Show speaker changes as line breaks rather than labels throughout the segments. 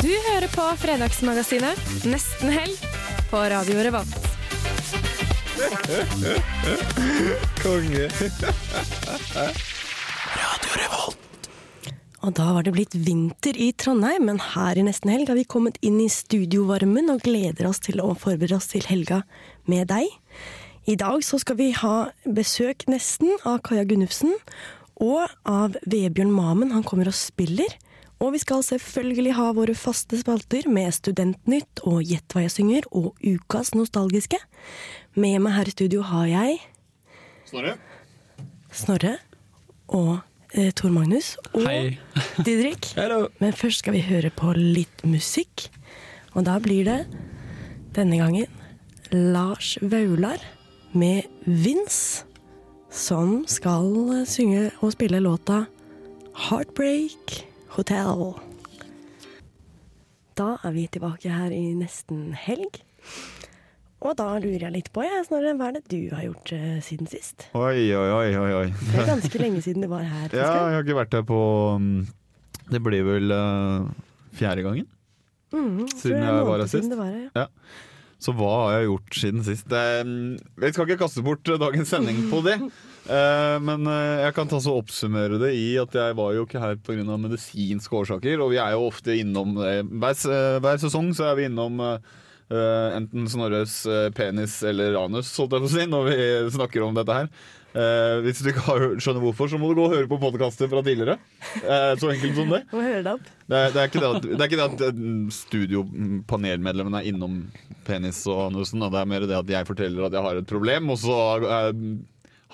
Du hører på Fredagsmagasinet Nesten helg på Radio Revolt.
Og da var det blitt vinter i Trondheim, men her i nesten helg har vi kommet inn i studiovarmen og gleder oss til å forberede oss til helga med deg. I dag så skal vi ha besøk nesten av Kaja Gunnufsen og av Vebjørn Mamen. Han kommer og spiller. Og vi skal selvfølgelig ha våre faste spalter med Studentnytt og Gjett hva jeg synger og Ukas nostalgiske. Med meg her i studio har jeg Snorre og eh, Tor Magnus. Og
Hei.
Didrik. Men først skal vi høre på litt musikk. Og da blir det denne gangen Lars Vaular med Vince, som skal eh, synge og spille låta 'Heartbreak Hotel'. Da er vi tilbake her i nesten helg. Og da lurer jeg litt på, jeg, Snorre, hva er det du har gjort eh, siden sist?
Oi, oi, oi, oi, oi.
Det er ganske lenge siden du var her.
Ja, jeg har ikke vært her på mm, Det blir vel eh, fjerde gangen.
Mm,
Siden jeg var her sist.
Var,
Så hva har jeg gjort siden sist? Eh, Jeg skal ikke kaste bort eh, dagens sending på det. Eh, Men eh, jeg kan ta så oppsummere det i at jeg var jo ikke her pga. medisinske årsaker. Og vi er jo ofte innom eh, hver, s- eh, hver sesong så er vi innom eh, eh, enten Snorres eh, penis eller anus, holdt jeg på å si, når vi snakker om dette her. Eh, hvis du ikke har, skjønner hvorfor, så må du gå og høre på podkaster fra tidligere. Eh, så enkelt som det.
Må høre det opp.
Det er, det, er ikke det, at, det er ikke det at mm, studiopanelmedlemmene er innom penis og anusen. da. Det er mer det at jeg forteller at jeg har et problem, og så eh,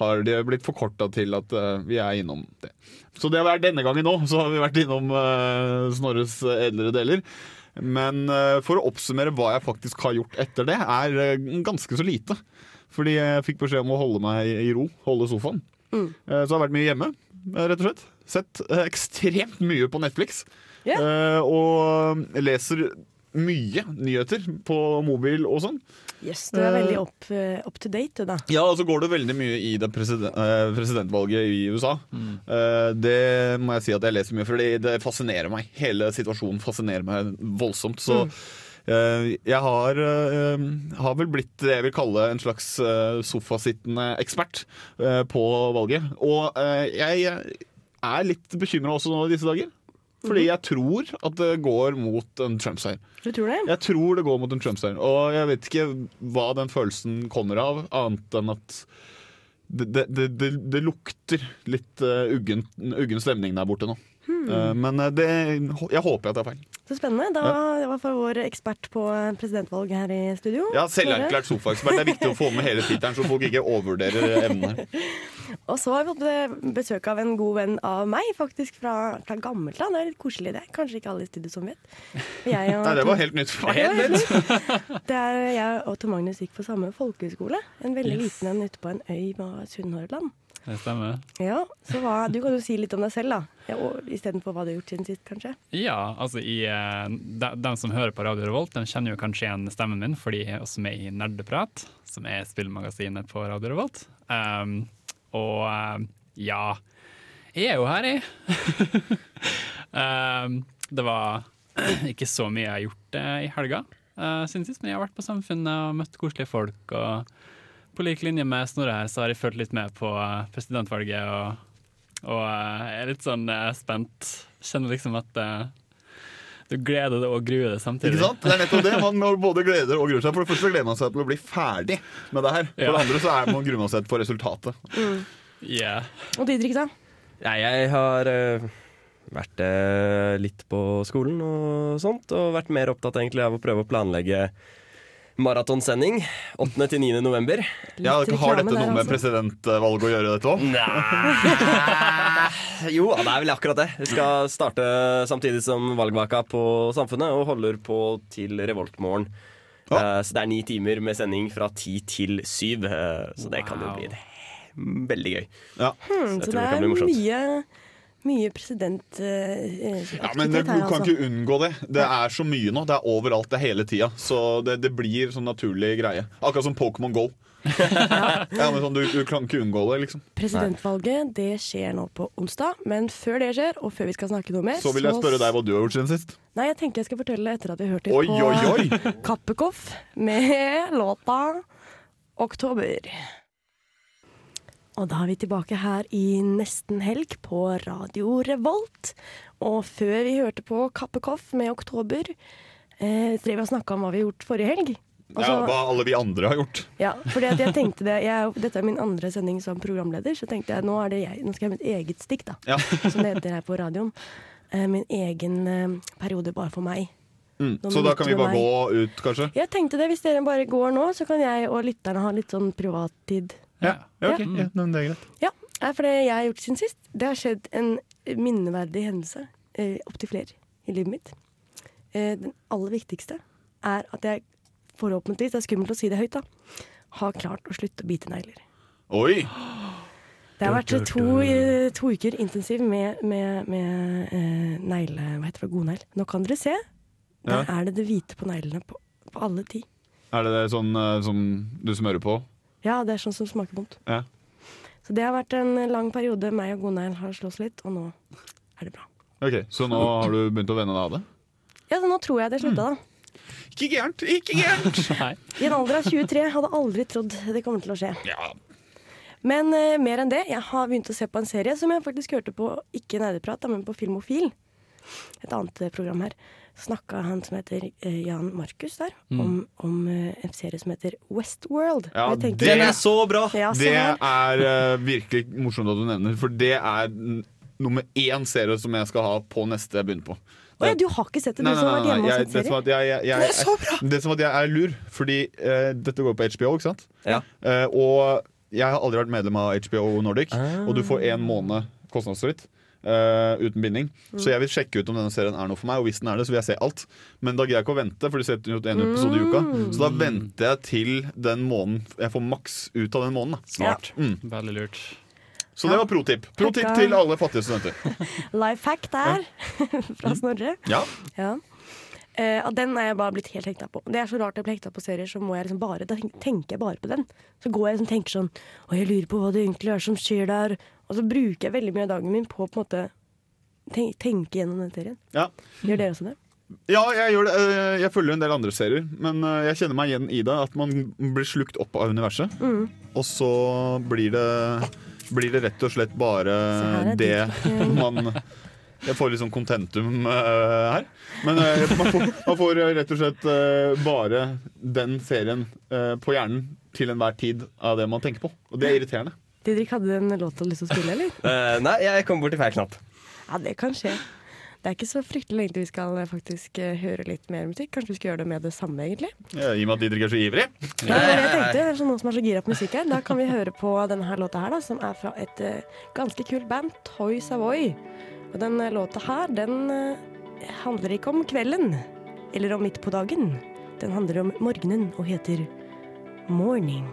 har de blitt forkorta til at eh, vi er innom det. Så det har vært denne gangen òg, så har vi vært innom eh, Snorres edlere deler. Men eh, for å oppsummere hva jeg faktisk har gjort etter det, er eh, ganske så lite. Fordi jeg fikk beskjed om å holde meg i ro, holde sofaen. Eh, Så det har vært mye hjemme, eh, rett og slett. Sett eh, ekstremt mye på Netflix.
Ja.
Eh, Og leser mye nyheter på mobil og sånn.
Yes, du er veldig
Eh,
up, eh, up to date, du da.
Ja, og så går det veldig mye i det presiden- eh, presidentvalget i USA. Eh, Det må jeg si at jeg leser mye, for det fascinerer meg. Hele situasjonen fascinerer meg voldsomt. Så eh, jeg har, eh, har vel blitt det jeg vil kalle en slags eh, sofasittende ekspert eh, på valget. Og eh, jeg er litt bekymra også nå i disse dager. Fordi jeg tror at det går mot en Trump-seier.
Du tror det?
Jeg tror det går mot en Trump-seier. Og jeg vet ikke hva den følelsen kommer av, annet enn at det, det, det, det, det lukter litt eh, uggen, uggen stemning der borte nå. Eh, men eh, det, jeg håper at det er feil.
Så spennende. Da var i hvert fall vår ekspert på eh, presidentvalg her i studio.
Ja, Selverklært sofaekspert. Det er viktig å få med hele tittelen, så folk ikke overvurderer evnene.
Og så har vi fått eh, besøk av en god venn av meg, faktisk fra, fra gammelt land. Det er litt koselig, det. Kanskje ikke alle i studio som vet. Jeg og,
Nei, det var helt nytt for meg.
det er, jeg og Tor Magnus gikk på samme folkehøyskole. En veldig
Yes.
liten en ute på en øy med Sunnhordland.
Det stemmer.
Ja, så hva, du kan jo si litt om deg selv, da. Ja, og Istedenfor hva du har gjort siden sist, kanskje.
Ja, altså i, eh, de, dem som hører på Radio Revolt, de kjenner jo kanskje igjen stemmen min, fordi jeg er også med i Nerdeprat, som er spillmagasinet på Radio Revolt. Um, og eh, ja, jeg er jo her, jeg. um, det var ikke så mye jeg har gjort eh, i helga, uh, siden sist, men jeg har vært på Samfunnet og møtt koselige folk. og på lik linje med Snorre her, så har jeg fulgt litt med på eh, presidentvalget og og eh, jeg er litt sånn eh, spent. Kjenner liksom at eh, du gleder deg og gruer deg samtidig.
Ikke sant? Det er nettopp det. Man må både gleder og gruer seg. For det første så gleder man seg til å bli ferdig med det her. For
Ja.
det andre så er man gruer man seg for resultatet.
Ja.
Og Didrik, da?
Nei, jeg har eh, vært eh, litt på skolen og sånt, og vært mer opptatt egentlig av å prøve å planlegge Maratonsending 8. til 9. november.
Ja, har dette noe med
presidenten
presidentvalget å gjøre, dette òg?
Jo, ja, det er vel akkurat det. Vi skal starte samtidig som valgvaka på Samfunnet, og holder på til Revoltmorgen. Eh,
Ja.
Så det er ni timer med sending fra ti til syv. eh, Så det kan jo
Wow.
bli he- veldig gøy. Så
Ja.
jeg
Hmm, Så
tror
det
det kan
er
bli morsomt.
mye, mye president... eh,
Ja, men Du
aktivitet her,
kan
altså.
ikke unngå det. Det er så mye nå. Det er overalt. Det er hele tida. Så det, det blir sånn naturlig greie. Akkurat som Pokémon Go. ja, men sånn, du, du kan ikke unngå det, liksom.
Presidentvalget det skjer nå på onsdag, men før det skjer, og før vi skal snakke noe mer
Så vil jeg spørre deg hva du har gjort siden sist.
Nei, jeg tenker jeg skal fortelle etter at vi har hørt
Oi,
litt på
oi, oi!
Kappekoff med låta 'Oktober'. Og da er vi tilbake her i nesten helg på Radio Revolt. Og før vi hørte på Kappekoff med 'Oktober', eh, drev vi og snakka om hva vi har gjort forrige helg. Altså, Og
Ja,
så-
hva alle vi andre har gjort.
ja, fordi at jeg tenkte det jeg, er jo- Dette er min andre sending som programleder, så tenkte jeg nå, er det jeg, nå skal jeg ha mitt eget stikk, da.
Ja.
Som det heter her på radioen. Eh, Min egen eh, periode bare for meg.
Mm.
Noen
Så da kan vi
minutter
bare
med
gå ut, kanskje?
Jeg tenkte det, hvis dere bare går nå, så kan jeg og lytterne ha litt sånn privattid.
Ja.
Ja,
Ja.
ja, men det er greit.
Ja, eh, for det jeg har gjort siden sist, det har skjedd en minneverdig hendelse, eh, opptil flere, i livet mitt. Eh, den aller viktigste er at jeg forhåpentligvis, det er skummelt å si det høyt da, har klart å slutte å bite negler.
Oi!
Det har vært to, eh, to uker intensiv med, med, med eh, negle... Hva heter det? Godnegl. Nå kan dere se. Der er det det hvite på neglene på, på alle ti.
Er det det sånn eh, som du smører på?
Ja, det er sånn som smaker vondt.
Ja.
Så det har vært en lang periode. Meg og godnegl har slåss litt, og nå er det bra.
Ok, Så nå har du begynt å vende deg av det?
Ja, så nå tror jeg det slutta, da.
Ikke gærent! Ikke gærent!
Nei.
I en alder av 23 hadde aldri trodd det kommer til å skje.
ja.
Men eh, mer enn det, jeg har begynt å se på en serie som jeg faktisk hørte på, ikke Nerdeprat, da, men på Filmofil. Et annet eh, program her. Snakka han som heter eh, Jan Markus der, om, om eh, en serie som heter Westworld.
Mm. Ja,
Og jeg tenkte-
det- Den er
så bra!
ja, se
Det
her.
er eh, virkelig morsomt at du nevner, for det er n- nummer én serie som jeg skal ha på neste jeg begynner på.
Å ja, du har ikke sett det, du som har vært hjemme og
jeg,
sett
det, som
serie?
at jeg, jeg, jeg, det som at jeg er lur, fordi eh, dette går på HBO, ikke sant?
Ja.
Eh, og jeg har aldri vært medlem av HBO Nordic, og du får én måned kostnadsfritt. eh, uten binding. Så jeg vil sjekke ut om denne serien er noe for meg. Og hvis den er det, så vil jeg se alt. Men da greier jeg ikke å vente, for de setter ut en episode i uka. Så da venter jeg til den måneden jeg får maks ut av den måneden. Da.
Smart.
Mm.
Veldig lurt.
Så det var pro tip. Pro tip
Takk.
til alle fattige studenter.
Life hack der, fra Snorre.
Ja,
Ja. Eh, og den er jeg bare blitt helt hekta på. Det er så rart jeg blir hekta på serier, så må jeg liksom bare, da tenk- tenker jeg bare på den. Så går jeg liksom og tenker sånn Å, jeg lurer på hva det egentlig er som skjer der. Og så bruker jeg veldig mye av dagen min på å på en måte ten tenke gjennom den serien.
ja.
Gjør dere også det?
Ja, jeg gjør det. Eh, Jeg følger en del andre serier, men eh, jeg kjenner meg igjen i det. At man blir slukt opp av universet.
Mm.
Og så blir det, blir det rett og slett bare
Så her er eh,
det man Jeg får litt sånn kontentum eh, her. Men eh, man får, man får rett og slett eh, bare den serien eh, på hjernen til enhver tid av det man tenker på. Og det er irriterende.
Didrik, hadde du en låt du hadde lyst til å spille, eller?
Eh, nei, jeg kom borti feil knapp.
Ja, det kan skje. Det er ikke så fryktelig lenge til vi skal eh, faktisk eh, høre litt mer musikk. Kanskje vi skal gjøre det med det samme, egentlig.
Ja, I og med at Didrik er så ivrig.
Nei, det var det jeg tenkte. Det er sånn noen som er så gira på musikk her. Da kan vi høre på denne her låta her, da, som er fra et eh, ganske kult band, Toy Savoy. Og den eh, låta her, den eh, handler ikke om kvelden, eller om midt på dagen. Den handler om morgenen og heter Morning.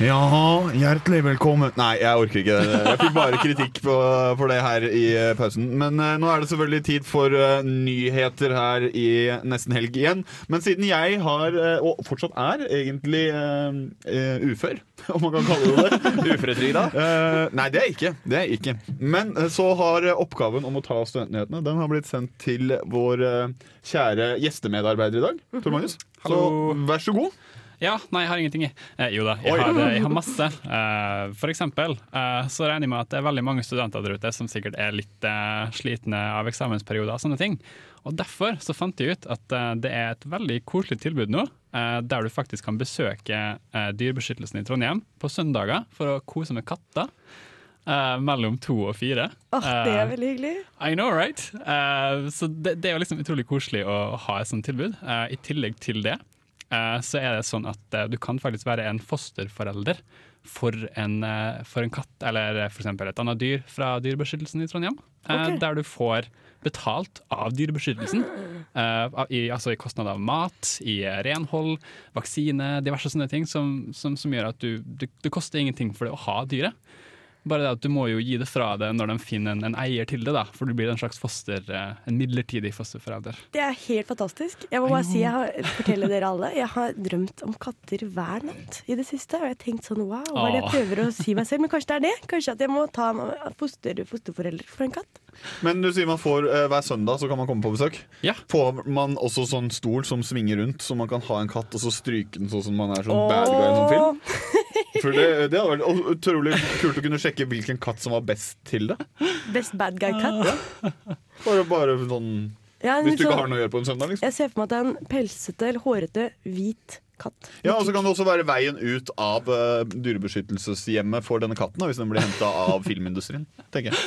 Ja, hjertelig velkommen Nei, jeg orker ikke. Jeg fikk bare kritikk på, for det her i eh, pausen. Men eh, nå er det selvfølgelig tid for eh, nyheter her i nesten helg igjen. Men siden jeg har, eh, og fortsatt er, egentlig eh, eh, ufør, om man kan kalle det det
Uføretrygda.
Eh, nei, det er jeg ikke. Det er jeg ikke. Men eh, så har eh, oppgaven om å ta studentnyhetene Den har blitt sendt til vår eh, kjære gjestemedarbeider i dag, Tor Magnus. Så
Hallo.
vær så god.
Ja, nei, jeg har ingenting, jeg. Eh, jo da, jeg
Oi.
har, jeg har masse. Eh, for eksempel eh, så regner jeg med at det er veldig mange studenter der ute som sikkert er litt eh, slitne av eksamensperioder og sånne ting. Og Derfor så fant jeg ut at eh, det er et veldig koselig tilbud nå, eh, der du faktisk kan besøke eh, Dyrebeskyttelsen i Trondheim på søndager for å kose med katter eh, mellom to og fire.
Åh, det
Eh,
er veldig hyggelig.
I know, right? Eh, så det, det er jo liksom utrolig koselig å ha et sånt tilbud. Eh, I tillegg til det eh, så er det sånn at eh, du kan faktisk være en fosterforelder for en, eh, for en katt, eller for eksempel et annet dyr fra Dyrebeskyttelsen i Trondheim. eh,
Ok.
Der du får betalt av Dyrebeskyttelsen. eh, av- i, altså i kostnad av mat, i eh, renhold, vaksine, diverse sånne ting som, som, som gjør at du, du, det koster ingenting for det å ha dyret. Bare det at du må jo gi det fra deg når de finner en, en eier til det, da. For du blir en slags foster, eh, en midlertidig fosterforelder.
Det er helt fantastisk. Jeg må bare si, jeg har, fortelle dere alle, jeg har drømt om katter hver natt i det siste. Og jeg har tenkt sånn wow, hva er det jeg
Åh.
prøver å si meg selv? Men kanskje det er det? Kanskje at jeg må ta en foster, fosterforelder for en katt?
Men du sier man får eh, hver søndag så kan man komme på besøk.
Ja.
Får man også sånn stol som svinger rundt, så man kan ha en katt og så stryke den sånn som man er sånn bad guy i noen film?
Åh,
For det, det hadde vært og utrolig kult å kunne sjekke hvilken katt som var best til det.
Best bad guy-katt.
Bare, bare sånn
Ja, en
Hvis du
sånn-
ikke har noe å gjøre på en søndag, liksom.
Jeg ser for meg at det er en pelsete eller hårete hvit katt.
Ja, og så kan det også være veien ut av eh, dyrebeskyttelseshjemmet for denne katten, da, hvis den blir henta av filmindustrien, tenker jeg.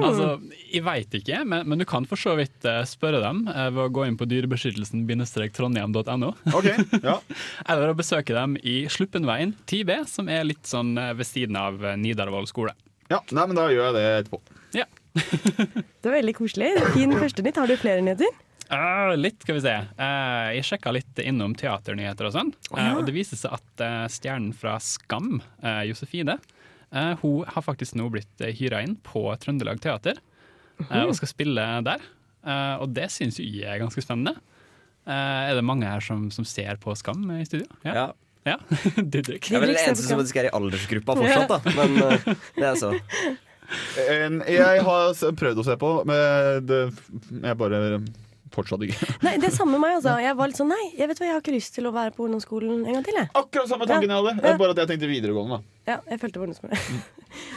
Altså, jeg veit ikke, men, men du kan for så vidt eh, spørre dem eh, ved å gå inn på dyrebeskyttelsen-trondheim.no.
Ok, ja
Eller å besøke dem i Sluppenveien 10B, som er litt sånn eh, ved siden av eh, Nidarvoll skole.
Ja, nei, men da gjør jeg det etterpå.
Ja.
Det er veldig koselig. Fin første nytt. Har du flere nyheter?
Eh, litt, skal vi se. Eh, jeg sjekka litt innom teaternyheter og sånn. Eh, og det viser seg at eh, stjernen fra Skam, eh, Josefine, eh, hun har faktisk nå blitt uh, hyra inn på Trøndelag Teater eh, og skal spille der. Eh, og det syns jo jeg er ganske spennende. Eh, er det mange her som, som ser på Skam i studio?
Ja.
ja. Didrik.
Jeg er vel den
Didrik ser
eneste
på
som
skam.
faktisk er i aldersgruppa fortsatt, da. Men eh, det er så.
En, jeg har s- prøvd å se på, men det, jeg bare fortsatt ikke.
Nei, det er samme meg, altså. Jeg var litt sånn nei, jeg vet hva, jeg har ikke lyst til å være på ungdomsskolen en gang til, jeg.
Akkurat samme tanken jeg hadde, bare at jeg tenkte videregående. da
Ja, jeg følte på ungdomsskolen.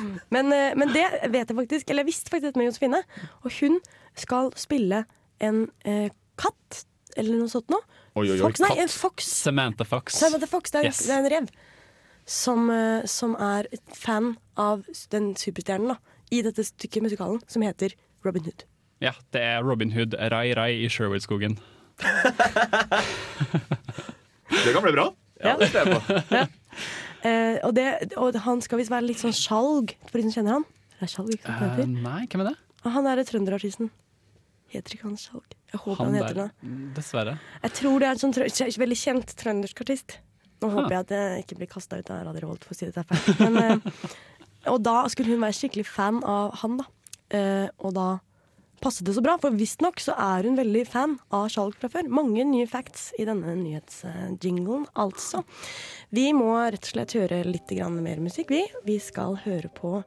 Mm.
men, eh, men det vet jeg faktisk, eller jeg visste faktisk dette med Josefine. Og hun skal spille en eh, katt, eller noe sånt noe.
Oi, oi, oi,
Fox, nei,
katt.
en fox.
Samantha Fox.
Nei, men det er Fox, det er,
Yes.
det er en rev. Som, eh, som er et fan av den superstjernen da, i dette stykket musikalen som heter Robin Hood.
Ja, det er Robin Hood Rai Rai i Sherwoodskogen.
Det kan bli bra.
Ja, det tror jeg på.
Eh, og, det, og han skal visst være litt sånn skjalg, for de som kjenner han. Det er skjalg, ikke sant? det
Eh,
heter?
nei, hvem er det?
Og han er trønderartisten. Heter ikke han Skjalg? Jeg håper han, heter det.
Dessverre.
Jeg tror det er en sånn trø kje- veldig kjent trøndersk artist. Nå håper jeg at jeg ikke blir kasta ut av Radio Revolt for å si dette er feil. Men, eh, og da skulle hun være skikkelig fan av han, da. Eh, og da passet det så bra, for visstnok så er hun veldig fan av Skjalg fra før. Mange nye facts i denne nyhetsjinglen, altså. Vi må rett og slett høre litt grann mer musikk, vi. Vi skal høre på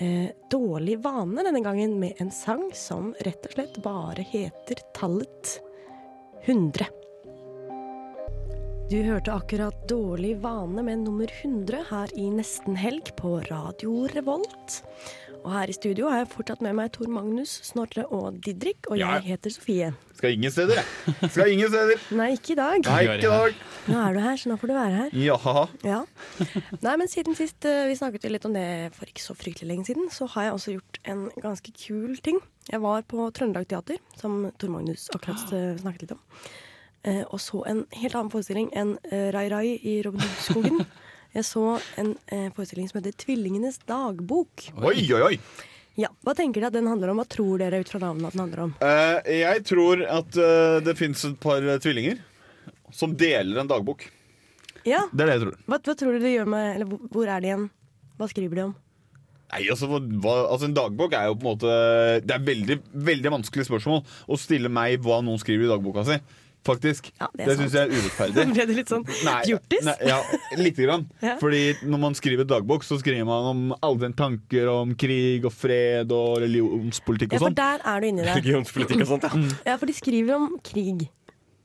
eh, Dårlig vane denne gangen med en sang som rett og slett bare heter Tallet 100. Du hørte akkurat Dårlig vane med nummer 100 her i Nesten helg på Radio Revolt. Og her i studio har jeg fortsatt med meg Tor Magnus, Snorre og Didrik, og
Ja.
jeg heter Sofie.
Skal ingen steder, jeg. Skal ingen steder.
Nei, ikke i dag.
Nei, ikke i dag.
Nå er du her, så nå får du være her.
Jaha.
Ja. Nei, men siden sist eh, vi snakket jo litt om det for ikke så fryktelig lenge siden, så har jeg også gjort en ganske kul ting. Jeg var på Trøndelag Teater, som Tor Magnus akkurat eh, snakket litt om, eh, og så en helt annen forestilling enn eh, Rai Rai i Robin Hood-skogen. Jeg så en eh, forestilling som heter Tvillingenes dagbok.
Oi, oi, oi.
Ja, Hva tenker dere at den handler om? Hva tror dere ut fra navnet at den handler om?
Eh, jeg tror at eh, det fins et par eh, tvillinger som deler en dagbok.
Ja,
Det er det jeg tror.
Hva, hva tror dere de gjør med Eller hvor- hvor er de igjen? Hva skriver de om?
Nei, altså, hva, hva- altså En dagbok er jo på en måte Det er veldig veldig vanskelig spørsmål å stille meg hva noen skriver i dagboka si. Faktisk.
Ja, det er
det syns jeg er urettferdig.
Ble det litt sånn
Nei,
hjortis?
Nei, ja, lite grann.
Ja.
Fordi når man skriver dagbok, så skriver man om alle sine tanker om krig og fred og religionspolitikk
Ja,
og
for
sånn.
der er du inni der.
Religionspolitikk og sånt, ja.
Ja, for de skriver om krig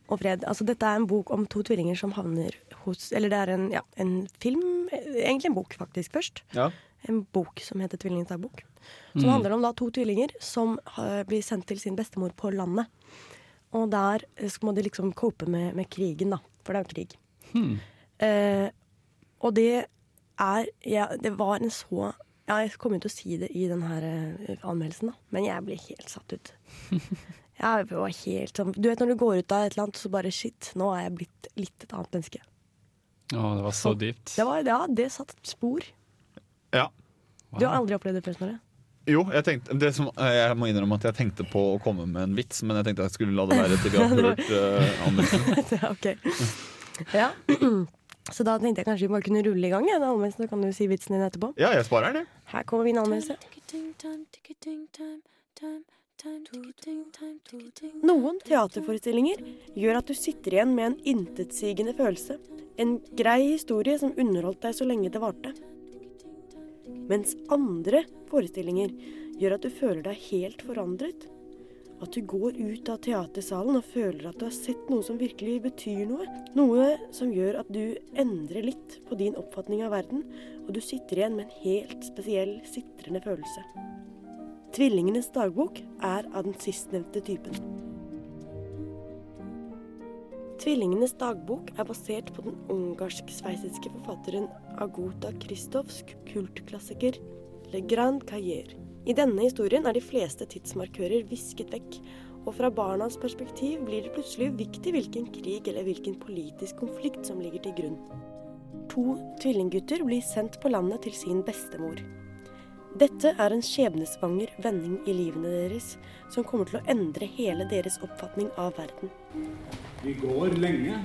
og fred. Altså, dette er en bok om to tvillinger som havner hos Eller det er en, ja, en film eh, Egentlig en bok, faktisk, først.
Ja.
En bok som heter 'Tvillingens dagbok'. Som handler om da to tvillinger som eh, blir sendt til sin bestemor på landet. Og der eh, så må de liksom cope med, med krigen, da. For det er jo krig. Eh, og det er ja, Det var en så ja, Jeg kommer jo til å si det i den her eh, anmeldelsen, da. Men jeg ble helt satt ut. Jeg var helt sånn Du vet når du går ut av et eller annet, så bare shit, nå er jeg blitt litt et annet menneske.
Å, det var så dypt.
Det var, ja, det satt spor.
Ja.
Du har aldri opplevd det før, Snorre?
Jo, jeg, tenkte, det som, eh, jeg må innrømme at jeg tenkte på å komme med en vits, men jeg tenkte jeg skulle la det være til vi har hørt eh, anmeldelsen.
Ja, ok. Ja. Så da tenkte jeg kanskje vi bare kunne rulle i gang. Ja, anmeldelsen, så kan du si vitsen din etterpå.
Ja, jeg sparer den, jeg.
Her kommer min anmeldelse. Noen teaterforestillinger gjør at du sitter igjen med en intetsigende følelse. En grei historie som underholdt deg så lenge det varte. Mens andre forestillinger gjør at du føler deg helt forandret. At du går ut av teatersalen og føler at du har sett noe som virkelig betyr noe. Noe som gjør at du endrer litt på din oppfatning av verden, og du sitter igjen med en helt spesiell sitrende følelse. Tvillingenes dagbok er av den sistnevnte typen. Tvillingenes dagbok er basert på den ungarsk-sveitsiske forfatteren Agota Kristoffs kultklassiker Le Grand Cahier. I denne historien er de fleste tidsmarkører visket vekk, og fra barnas perspektiv blir det plutselig uviktig hvilken krig eller hvilken politisk konflikt som ligger til grunn. To tvillinggutter blir sendt på landet til sin bestemor. Dette er en skjebnesvanger vending i livene deres som kommer til å endre hele deres oppfatning av verden.
Vi går lenge.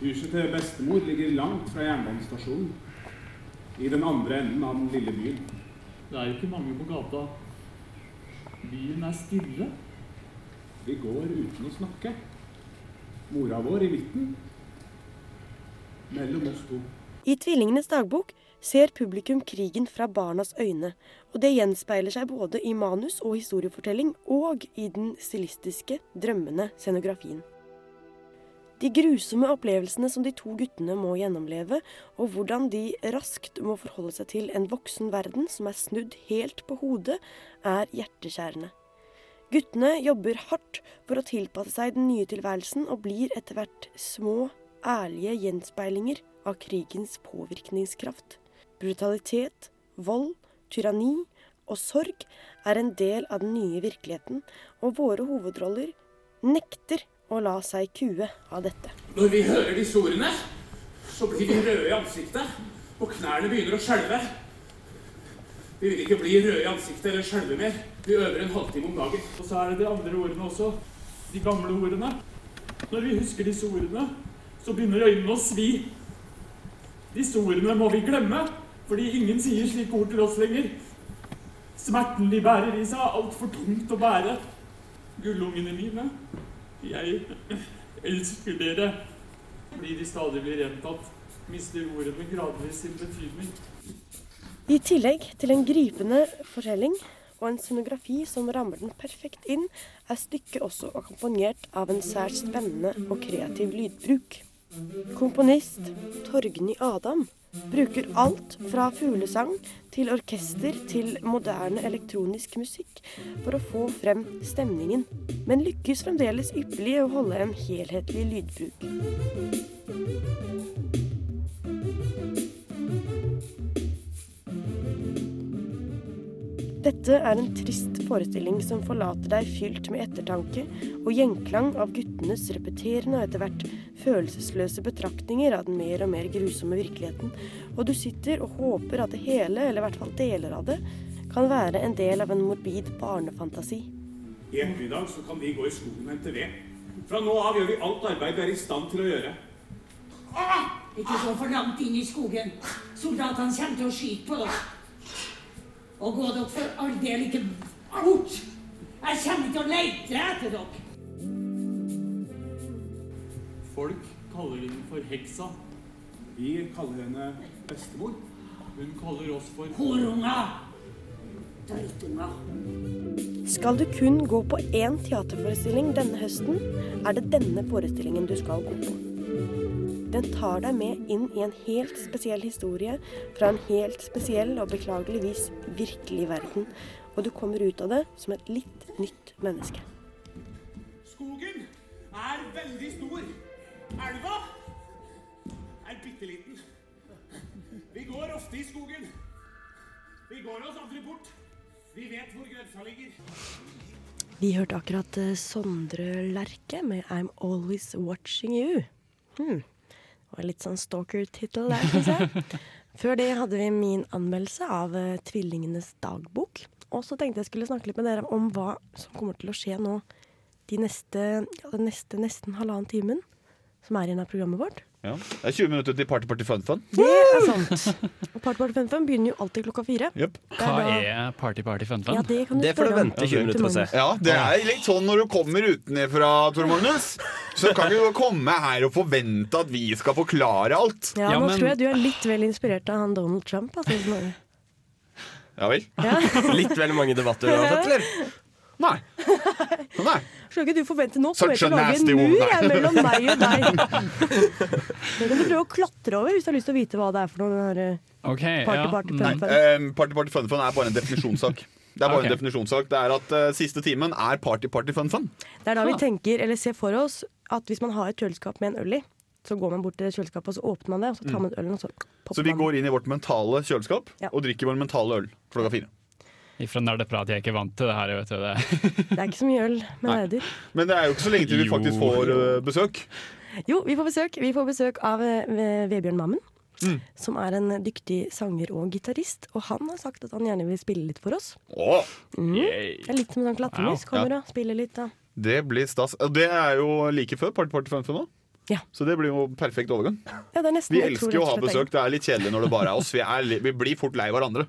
Huset til bestemor ligger langt fra jernbanestasjonen. I den andre enden av den lille byen.
Det er jo ikke mange på gata. Byen er stille.
Vi går uten å snakke. Mora vår i midten. Mellom oss to.
I Tvillingenes dagbok ser publikum krigen fra barnas øyne, og det gjenspeiler seg både i manus og historiefortelling og i den stilistiske, drømmende scenografien. De grusomme opplevelsene som de to guttene må gjennomleve, og hvordan de raskt må forholde seg til en voksen verden som er snudd helt på hodet, er hjerteskjærende. Guttene jobber hardt for å tilpasse seg den nye tilværelsen og blir etter hvert små, ærlige gjenspeilinger av krigens påvirkningskraft. Brutalitet, vold, tyranni og sorg er en del av den nye virkeligheten, og våre hovedroller nekter å la seg kue av dette.
Når vi hører disse ordene, så blir vi røde i ansiktet, og knærne begynner å skjelve. Vi vil ikke bli røde i ansiktet eller skjelve mer. Vi øver en halvtime om dagen. Og så er det de andre ordene også. De gamle ordene. Når vi husker disse ordene, så begynner øynene å svi. Disse ordene må vi glemme, fordi ingen sier slike ord til oss lenger. Smerten de bærer i seg, er altfor tungt å bære. Gullungene mine, jeg elsker dere. Fordi de stadig blir gjentatt, mister ordene gradvis sin betydning.
I tillegg til en gripende fortelling og en scenografi som rammer den perfekt inn, er stykket også akkompagnert av en særs spennende og kreativ lydbruk. Komponist Torgny Adam bruker alt fra fuglesang til orkester til moderne elektronisk musikk for å få frem stemningen, men lykkes fremdeles ypperlig i å holde en helhetlig lydbruk. Dette er en trist forestilling som forlater deg fylt med ettertanke og gjenklang av guttenes repeterende og etter hvert følelsesløse betraktninger av den mer og mer grusomme virkeligheten, og du sitter og håper at det hele, eller i hvert fall deler av det, kan være en del av en morbid barnefantasi.
I ettermiddag så kan vi gå i skogen og hente ved. Fra nå av gjør vi alt arbeid vi er i stand til å gjøre.
Ah! Ikke så for langt inn i skogen. Soldatene kommer til å skyte på dere. Og gå dere for all del ikke bort. Jeg kommer til å lete etter dere.
Folk kaller henne for heksa.
Vi kaller henne bestemor.
Hun kaller oss for
Horunger. Dritunger.
Skal du kun gå på én teaterforestilling denne høsten, er det denne forestillingen du skal gå på. Den Den tar deg med inn i en helt spesiell historie fra en helt spesiell og beklageligvis virkelig verden. Og du kommer ut av det som et litt nytt menneske.
Skogen er veldig stor. Elva er bitte liten. Vi går ofte i skogen. Vi går oss aldri bort. Vi vet hvor grensa ligger.
Vi hørte akkurat eh, Sondre Lerche med 'I'm Always Watching You'. Hmm. Det var litt sånn stalker-tittel der, syns jeg. Før det hadde vi min anmeldelse av eh, 'Tvillingenes dagbok'. Og så tenkte jeg skulle snakke litt med dere om hva som kommer til å skje nå de neste, ja, den neste nesten halvannen timen som er igjen av programmet vårt.
Ja. Det er 20 minutter til Party Party Fun Fun.
Det er sant. Og Party Party Fun Fun begynner jo alltid klokka fire. Det
Hva
da-
er Party Party Fun Fun?
Ja, det kan du Det får du spørre om. vente i 20 minutter og se.
Ja, det er litt sånn når du kommer utenfra, Tor Magnus. Så kan du jo komme her og forvente at vi skal forklare alt.
Ja, nå tror jeg du er litt vel inspirert av han Donald Trump. Altså, Snorre.
Ja vel?
Litt vel mange debatter uansett, eller?
Nei.
Skal ikke du forvente nå?
Such
Such a
a nasty
nasty
woman.
mur jeg, mellom meg og deg. Det kan du prøve å klatre over hvis du har lyst til å vite hva det er for noe. Den her, eh, party, party,
Nei,
pump, pump.
eh, party Party Fun Fun er bare en definisjonssak. Det er bare
Ok.
en definisjonssak. Det er at eh, siste timen er Party Party Fun Fun.
Det er da vi
Ah.
tenker, eller ser for oss, at hvis man har et kjøleskap med en øl i, så går man bort til det kjøleskapet, og så åpner man det, og så
Mm.
tar man ølen, og så
Så
popper
vi
man.
går inn i vårt mentale kjøleskap og drikker vår mentale øl klokka fire.
Fra nerdeprat, jeg er ikke vant til det her. Vet du, det.
Det er ikke så mye øl med nerder.
Men det er jo ikke så lenge til vi faktisk
Jo.
får eh, besøk.
Jo, vi får besøk. Vi får besøk av eh, Ve- Vebjørn Mammen. Som er en dyktig sanger og gitarist. Og han har sagt at han gjerne vil spille litt for oss.
Åh.
Mm. Det er litt som en sånn klatremus.
Wow.
Kommer
Ja.
og spiller litt, da.
Det blir stas. Og det er jo like før Party Party Fun Fun nå. Så det blir jo perfekt overgang.
Ja, det er nesten
Vi
jeg tror
elsker jo
rett
å ha
og slett
besøk. Det er litt kjedelig når det bare er oss. Vi, er, li- vi blir fort lei hverandre.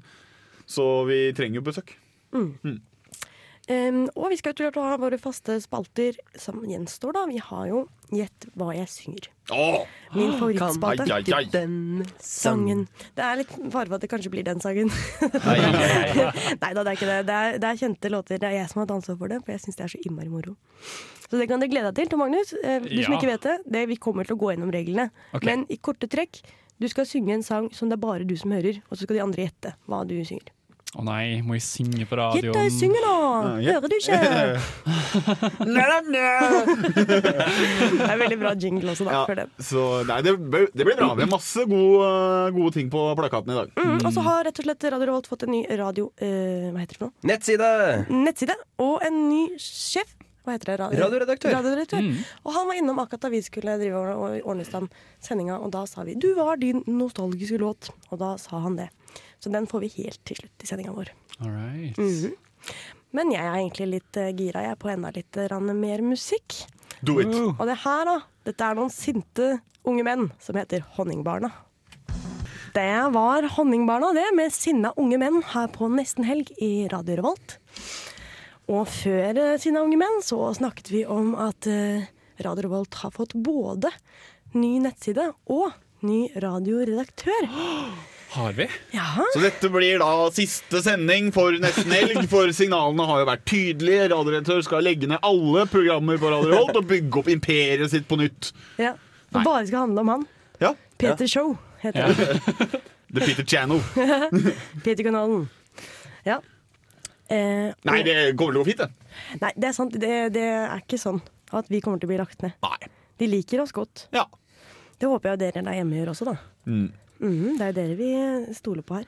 Så vi trenger jo besøk.
Mm.
Mm.
Em, og vi skal jo til å ha våre faste spalter som gjenstår, da. Vi har jo Gjett hva jeg synger.
Åh!
Ah,
Min
Ai, ai, ai.
favorittspalte. Den sangen. Det er litt fare for at det kanskje blir den sangen. Nei da, det er ikke det. Det er, det er kjente låter. Det er jeg som har dansa for det, for jeg syns det er så innmari moro. Så det kan dere glede deg til, Tom Magnus. Eh, Du som
Ja.
ikke vet det, det, vi kommer til å gå gjennom reglene.
Ok.
Men i korte trekk, du skal synge en sang som det er bare du som hører, og så skal de andre gjette hva du synger.
Å nei, må jeg synge på
Gitt
radioen?
deg, synge nå!
Ja,
Hører du ikke?
Eh,
Det er veldig bra jingle også, da.
Ja,
for det.
så nei, det, bø- det blir bra. Vi har masse gode, gode ting på plakaten i dag.
Mm, og så har rett og slett Radio Revolt fått en ny radio... eh, hva heter det for noe?
Nettside!
Nettside. Og en ny sjef. Hva heter det? Ra-
Radioredaktør.
Radioredaktør. Og han var innom akkurat da vi skulle drive og og ordne i stand sendinga, og da sa vi 'du var din nostalgiske låt', og da sa han det. Så den får vi helt til slutt i sendinga vår.
All right.
Mhm. Men jeg er egentlig litt eh, gira jeg er på enda litt rann mer musikk.
Do it.
Og det her, da. Dette er noen sinte unge menn som heter Honningbarna. Det var Honningbarna, det, med sinna unge menn her på Nesten Helg i Radio Revolt. Og før eh, Sinna unge menn så snakket vi om at eh, Radio Revolt har fått både ny nettside og ny radioredaktør.
Har vi?
Så dette blir da siste sending for nesten helg, for signalene har jo vært tydelige. Radioredaktør skal legge ned alle programmer på Radio Revolt og bygge opp imperiet sitt på nytt.
Ja, Det bare skal handle om han.
Ja.
Peter Show heter han.
The Peter Channel.
Peter-kanalen. Ja. Eh,
Nei, det kommer til å gå fint, det.
Nei, det er sant. Det, det er ikke sånn at vi kommer til å bli lagt ned. De liker oss godt. Det håper jeg dere der hjemme gjør også, da.
Mm.
Mhm, det er jo dere vi stoler på her.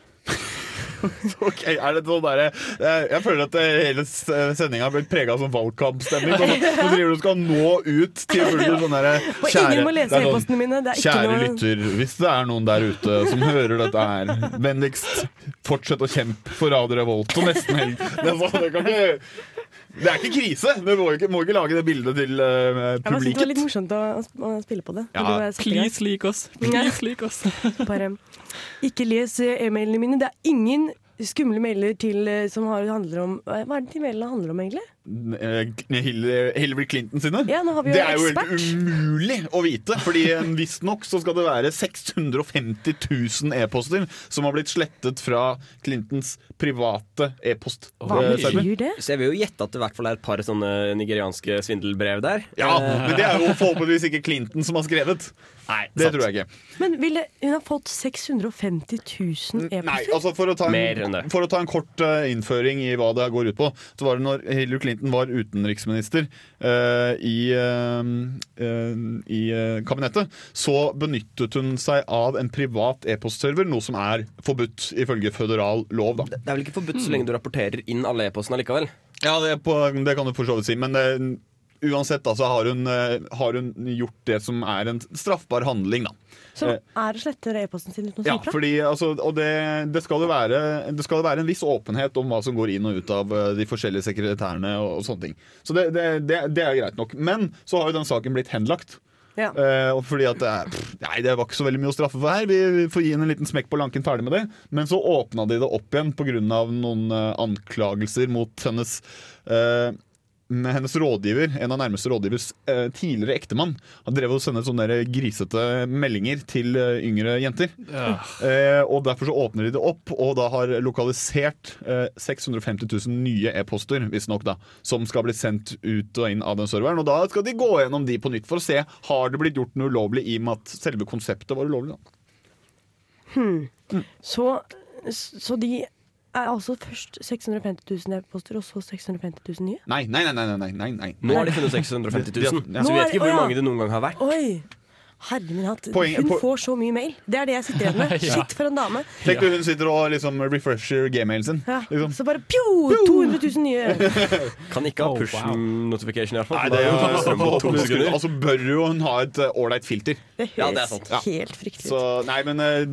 Ok, er det sånn derre eh, Jeg føler at eh, hele sendinga har blitt prega av sånn valgkampstemning. Nå nå driver du og skal nå ut til fullt sånn derre
Og ingen må lese
det er sånn,
e-postene mine, det er ikke
Kjære
noe-
lytter, hvis det er noen der ute som hører dette her, vennligst fortsett å kjempe for Radio Revolt og nesten helg. Det er, sånn, det, kan ikke, det er ikke krise. Du må ikke, må ikke lage det bildet til eh,
Jeg bare synes altså, det var
publiket.
litt morsomt å, å sp- å spille på det.
Ja,
please lik oss. Please lik oss.
Bare, ikke les eh, e-mailene mine. Det er ingen skumle mailer til, eh, som har, handler om Hva er det de mailene handler om, egentlig?
eh, Hillary Hillary Clinton sine.
Ja, nå har vi jo
det er jo
ekspert.
helt umulig å vite. Fordi visstnok så skal det være 650 000 e-poster som har blitt slettet fra Clintons private
Eh,
e-post-server.
server. Så jeg vil jo gjette at det i hvert fall er et par sånne nigerianske svindelbrev der.
Ja,
Eh,
men det er jo forhåpentligvis ikke Clinton som har skrevet. Nei, Det tror jeg ikke.
Men ville hun ha fått 650 000 e-poster?
Nei, altså for å ta
Mer enn
en,
det.
for å ta en kort eh, innføring i hva det her går ut på, så var det når Hillary Clinton var utenriksminister eh, i, eh, eh, i eh, kabinettet, så benyttet hun seg av en privat e-postserver, noe som er forbudt ifølge føderal lov. Da.
Det er vel ikke forbudt så lenge du rapporterer inn alle e-postene likevel?
Ja, det, er på, det kan du for så vidt si, men eh, uansett da, så har hun, eh, har hun gjort det som er en straffbar handling, da.
Som
Eh,
er å slette e-posten sin uten å
Ja,
si fra?
fordi, altså, og det, det, skal jo være, det skal jo være en viss åpenhet om hva som går inn og ut av eh, de forskjellige sekretærene og, og sånne ting. Så det, det, det, det er greit nok. Men så har jo den saken blitt henlagt.
Ja.
Eh, og fordi at det er, pff, Nei, det var ikke så veldig mye å straffe for her. Vi, vi får gi henne en liten smekk på lanken, ferdig med det. Men så åpna de det opp igjen pga. noen eh, anklagelser mot hennes eh, med hennes rådgiver, en av nærmeste rådgivers eh, tidligere ektemann, han drev og sendte sånne der grisete meldinger til eh, yngre jenter.
Ja.
Eh, og Derfor så åpner de det opp, og da har lokalisert eh, 650 000 nye e-poster visstnok, da, som skal bli sendt ut og inn av den serveren. Og Da skal de gå gjennom de på nytt for å se har det blitt gjort noe ulovlig i og med at selve konseptet var ulovlig. Da.
Hmm. Så, så de er altså først 650 000 e-poster, og så 650 000 nye?
Nei, nei, nei, nei, nei, nei, nei.
Nå har de funnet 650 000,
Ja.
så vi vet ikke
Nå er-
hvor
å, ja.
mange det noen gang har vært.
Oi! Herre min hatt.
Poenget-
Hun
po-
får så mye mail. Det er det jeg sitter igjen med.
Ja.
Shit, for en dame.
Tenk du, hun sitter og liksom refresher gmailen sin.
Ja.
Liksom.
Så bare pjo! 200 000 nye.
Kan ikke ha push notification, iallfall.
Nei, det er jo Altså bør jo hun ha et eh, ålreit filter.
Det høres helt fryktelig ut.
Så, nei, men eh,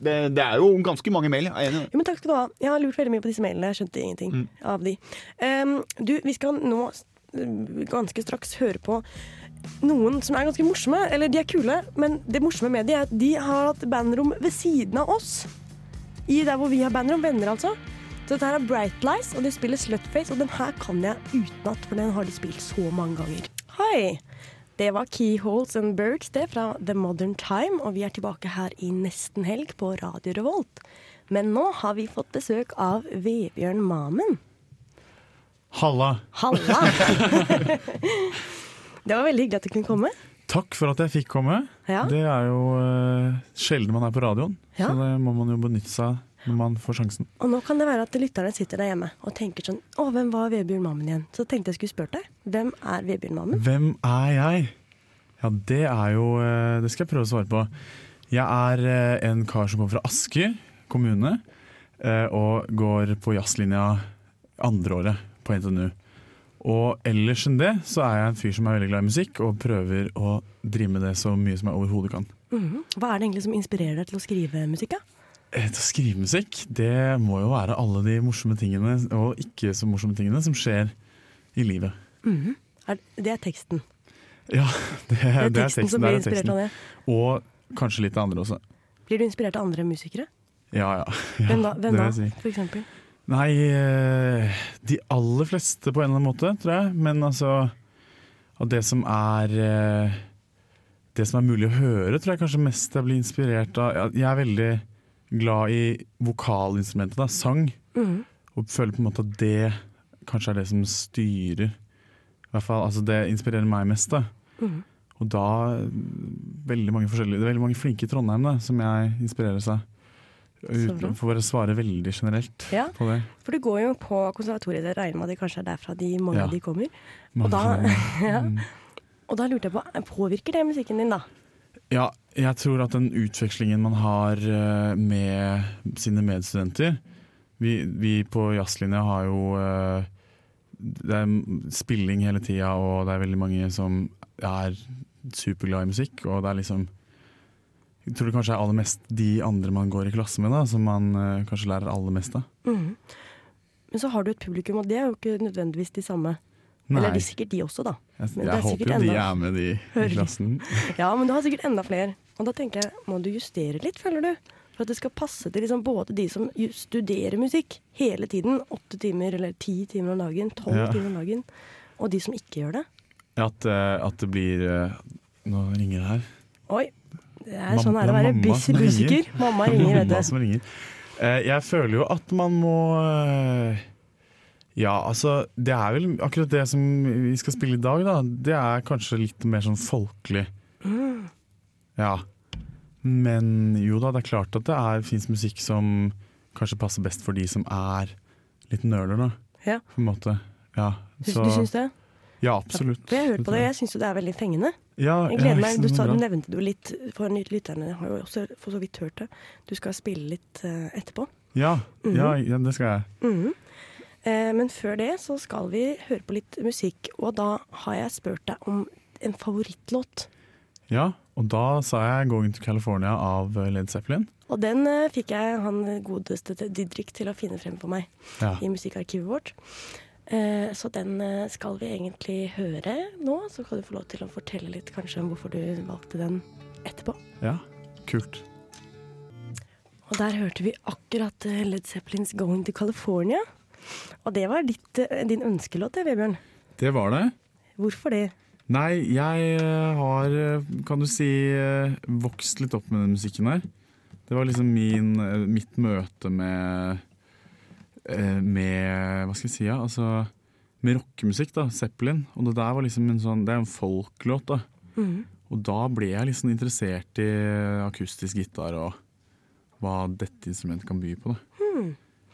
det, det er jo ganske mange mail. Jeg er enig. i det.
Jo, men takk skal du ha. Jeg har lurt veldig mye på disse mailene. Jeg skjønte ingenting
Mm.
av de. Em, du, vi skal nå s- ganske straks høre på noen som er ganske morsomme. Eller de er kule, men det morsomme med de er at de har hatt bandrom ved siden av oss. I der hvor vi har bandrom. Venner, altså. Så dette her er Bright Lies, og de spiller Slutface. Og den her kan jeg utenat, for den har de spilt så mange ganger. Hei! Det var Keyholes and Birds det fra The Modern Time, og vi er tilbake her i nesten helg på Radio Revolt. Men nå har vi fått besøk av Vebjørn Mamen.
Halla.
Halla! det var veldig hyggelig at du kunne komme.
Takk for at jeg fikk komme.
Ja.
Det er jo eh, sjelden man er på radioen,
Ja.
så det må man jo benytte seg av når man får sjansen.
Og nå kan det være at lytterne sitter der hjemme og tenker sånn Å, hvem var Vebjørn Mamen igjen? Så tenkte jeg skulle spørre deg. Hvem er Vebjørn Mamen?
Hvem er jeg? Ja, det er jo eh, Det skal jeg prøve å svare på. Jeg er eh, en kar som kommer fra Asker kommune, eh, og går på jazzlinja andreåret på NTNU. Og ellers enn det så er jeg en fyr som er veldig glad i musikk, og prøver å drive med det så mye som jeg overhodet kan.
Mhm. Hva er det egentlig som inspirerer deg til å skrive musikk? da?
Eh, Til å skrive musikk, det må jo være alle de morsomme tingene og ikke så morsomme tingene som skjer i livet.
Mhm. Er, det er teksten.
Ja, det, det, er,
teksten
teksten.
som blir
der er
inspirert
teksten.
av det.
Og kanskje litt av andre også.
Blir du inspirert av andre musikere?
Ja, ja. ja
hvem da, hvem
det
da
vil jeg si.
for eksempel?
Nei, eh, de aller fleste på en eller annen måte, tror jeg. Men altså av det som er eh, Det som er mulig å høre, tror jeg kanskje mest jeg blir inspirert av. Ja, Jeg er veldig glad i vokalinstrumentet, da, sang.
Mhm.
Og føler på en måte at det kanskje er det som styrer I hvert fall, altså Det inspirerer meg mest. da
Mhm.
Og da eh, veldig mange forskjellige Det er veldig mange flinke i Trondheim da som jeg inspireres av.
bra.
Uten for å bare svare veldig generelt
Ja.
på det.
For du går jo på konservatoriet, jeg regner med at det kanskje er derfra de mange
Ja.
av de kommer.
Mange
Og da,
av de,
ja.
mm.
og da lurte jeg på, eh, påvirker det musikken din da?
Ja, jeg tror at den utvekslingen man har eh, med sine medstudenter Vi, vi på jazzlinja har jo eh, Det er spilling hele tida, og det er veldig mange som er superglad i musikk. Og det er liksom Jeg tror det kanskje er aller mest de andre man går i klasse med, da, som man eh, kanskje lærer aller mest av.
Mhm. Men så har du et publikum, og det er jo ikke nødvendigvis de samme.
Nei.
Eller det er sikkert de også da.
Jeg,
Men det er
jeg
sikkert
håper jo de
enda-
er med, de
Hører.
i klassen.
Ja, men du har sikkert enda flere. Og da tenker jeg, må du justere litt, føler du? For at det skal passe til liksom både de som ju- studerer musikk hele tiden, åtte timer eller ti timer om dagen, tolv
Ja.
timer om dagen, og de som ikke gjør det.
At, eh, at det blir eh, Nå ringer det her.
Oi. Det er
Mam-
sånn er det å
det
være
mamma
bus-
som ringer.
busiker. Mamma ringer,
Mamma
vet du.
som ringer. Eh, Jeg føler jo at man må eh, Ja, altså Det er vel akkurat det som vi skal spille i dag, da. Det er kanskje litt mer sånn folkelig.
Mm.
Ja. Men jo da, det er klart at det fins musikk som kanskje passer best for de som er litt nøler, da.
Ja.
På en måte. Ja,
Syns- du syns det?
Ja, absolutt.
For jeg har hørt på det, og jeg syns jo det er veldig fengende.
Ja,
jeg
ja,
gleder
ikke
meg,
sant,
Du sa,
bra.
nevnte det jo litt for ny- lytterne, har jo også for så vidt hørt det. Du skal spille litt eh, etterpå.
Ja, ja,
Mhm.
ja, det skal jeg.
Mhm. Eh, men før det så skal vi høre på litt musikk, og da har jeg spurt deg om en favorittlåt.
Ja, og da sa jeg 'Going to California' av Led Zeppelin.
Og den eh, fikk jeg han godeste Didrik til å finne frem for meg
Ja.
i musikkarkivet vårt. Eh, så den eh, skal vi egentlig høre nå, så kan du få lov til å fortelle litt kanskje om hvorfor du valgte den etterpå.
Ja, kult.
Og der hørte vi akkurat eh, Led Zeppelins 'Going to California'. Og det var ditt, eh, din ønskelåt, det, Vebjørn.
Det var det.
Hvorfor det?
Nei, jeg eh, har, eh, kan du si, eh, vokst litt opp med den musikken her. Det var liksom min, eh, mitt møte med eh, Med, hva skal jeg si, ja, altså Med rockemusikk, da. Zeppelin. Og det der var liksom en sånn Det er en folklåt, da.
Mhm.
Og da ble jeg liksom interessert i eh, akustisk gitar og hva dette instrumentet kan by på, da.
Hmm.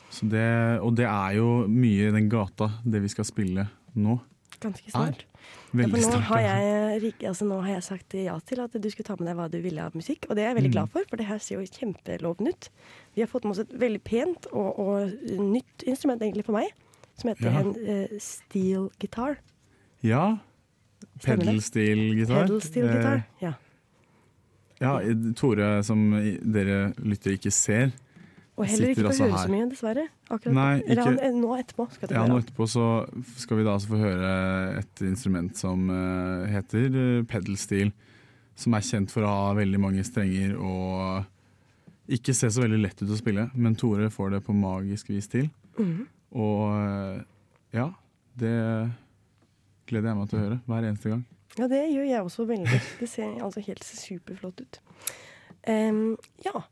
Så det, og det er jo mye i den gata, det vi skal spille nå.
Ganske snart.
Er
Ja, for
veldig
nå,
snart.
har
altså.
jeg, rik- altså, nå har jeg sagt ja til at du skulle ta med deg hva du ville av musikk, og det er jeg veldig
Mm.
glad for, for det her ser jo kjempelovende ut. Vi har fått med oss et veldig pent og, og eh, nytt instrument egentlig for meg, som heter
Ja.
en eh, steel guitar.
Ja.
Stemmer det?
Pedal-stil-gitar.
Pedal steel guitar.
Eh,
Ja.
Ja, Tore, som i- dere lytter ikke ser
Og heller
sitter
ikke
altså
får høre
her.
så mye, dessverre. Akkurat.
Nei,
Eller
ikke-
han- eh, nå etterpå skal du
Ja, nå
høre.
etterpå så skal vi da altså få høre et instrument som eh, heter eh, pedal-stil, som er kjent for å ha veldig mange strenger og ikke se så veldig lett ut å spille, men Tore får det på magisk vis til.
Mhm.
Og eh, ja, det gleder jeg meg til å høre hver eneste gang.
Ja, det gjør jeg også veldig. Det ser altså helt superflott ut. Ehm, ja.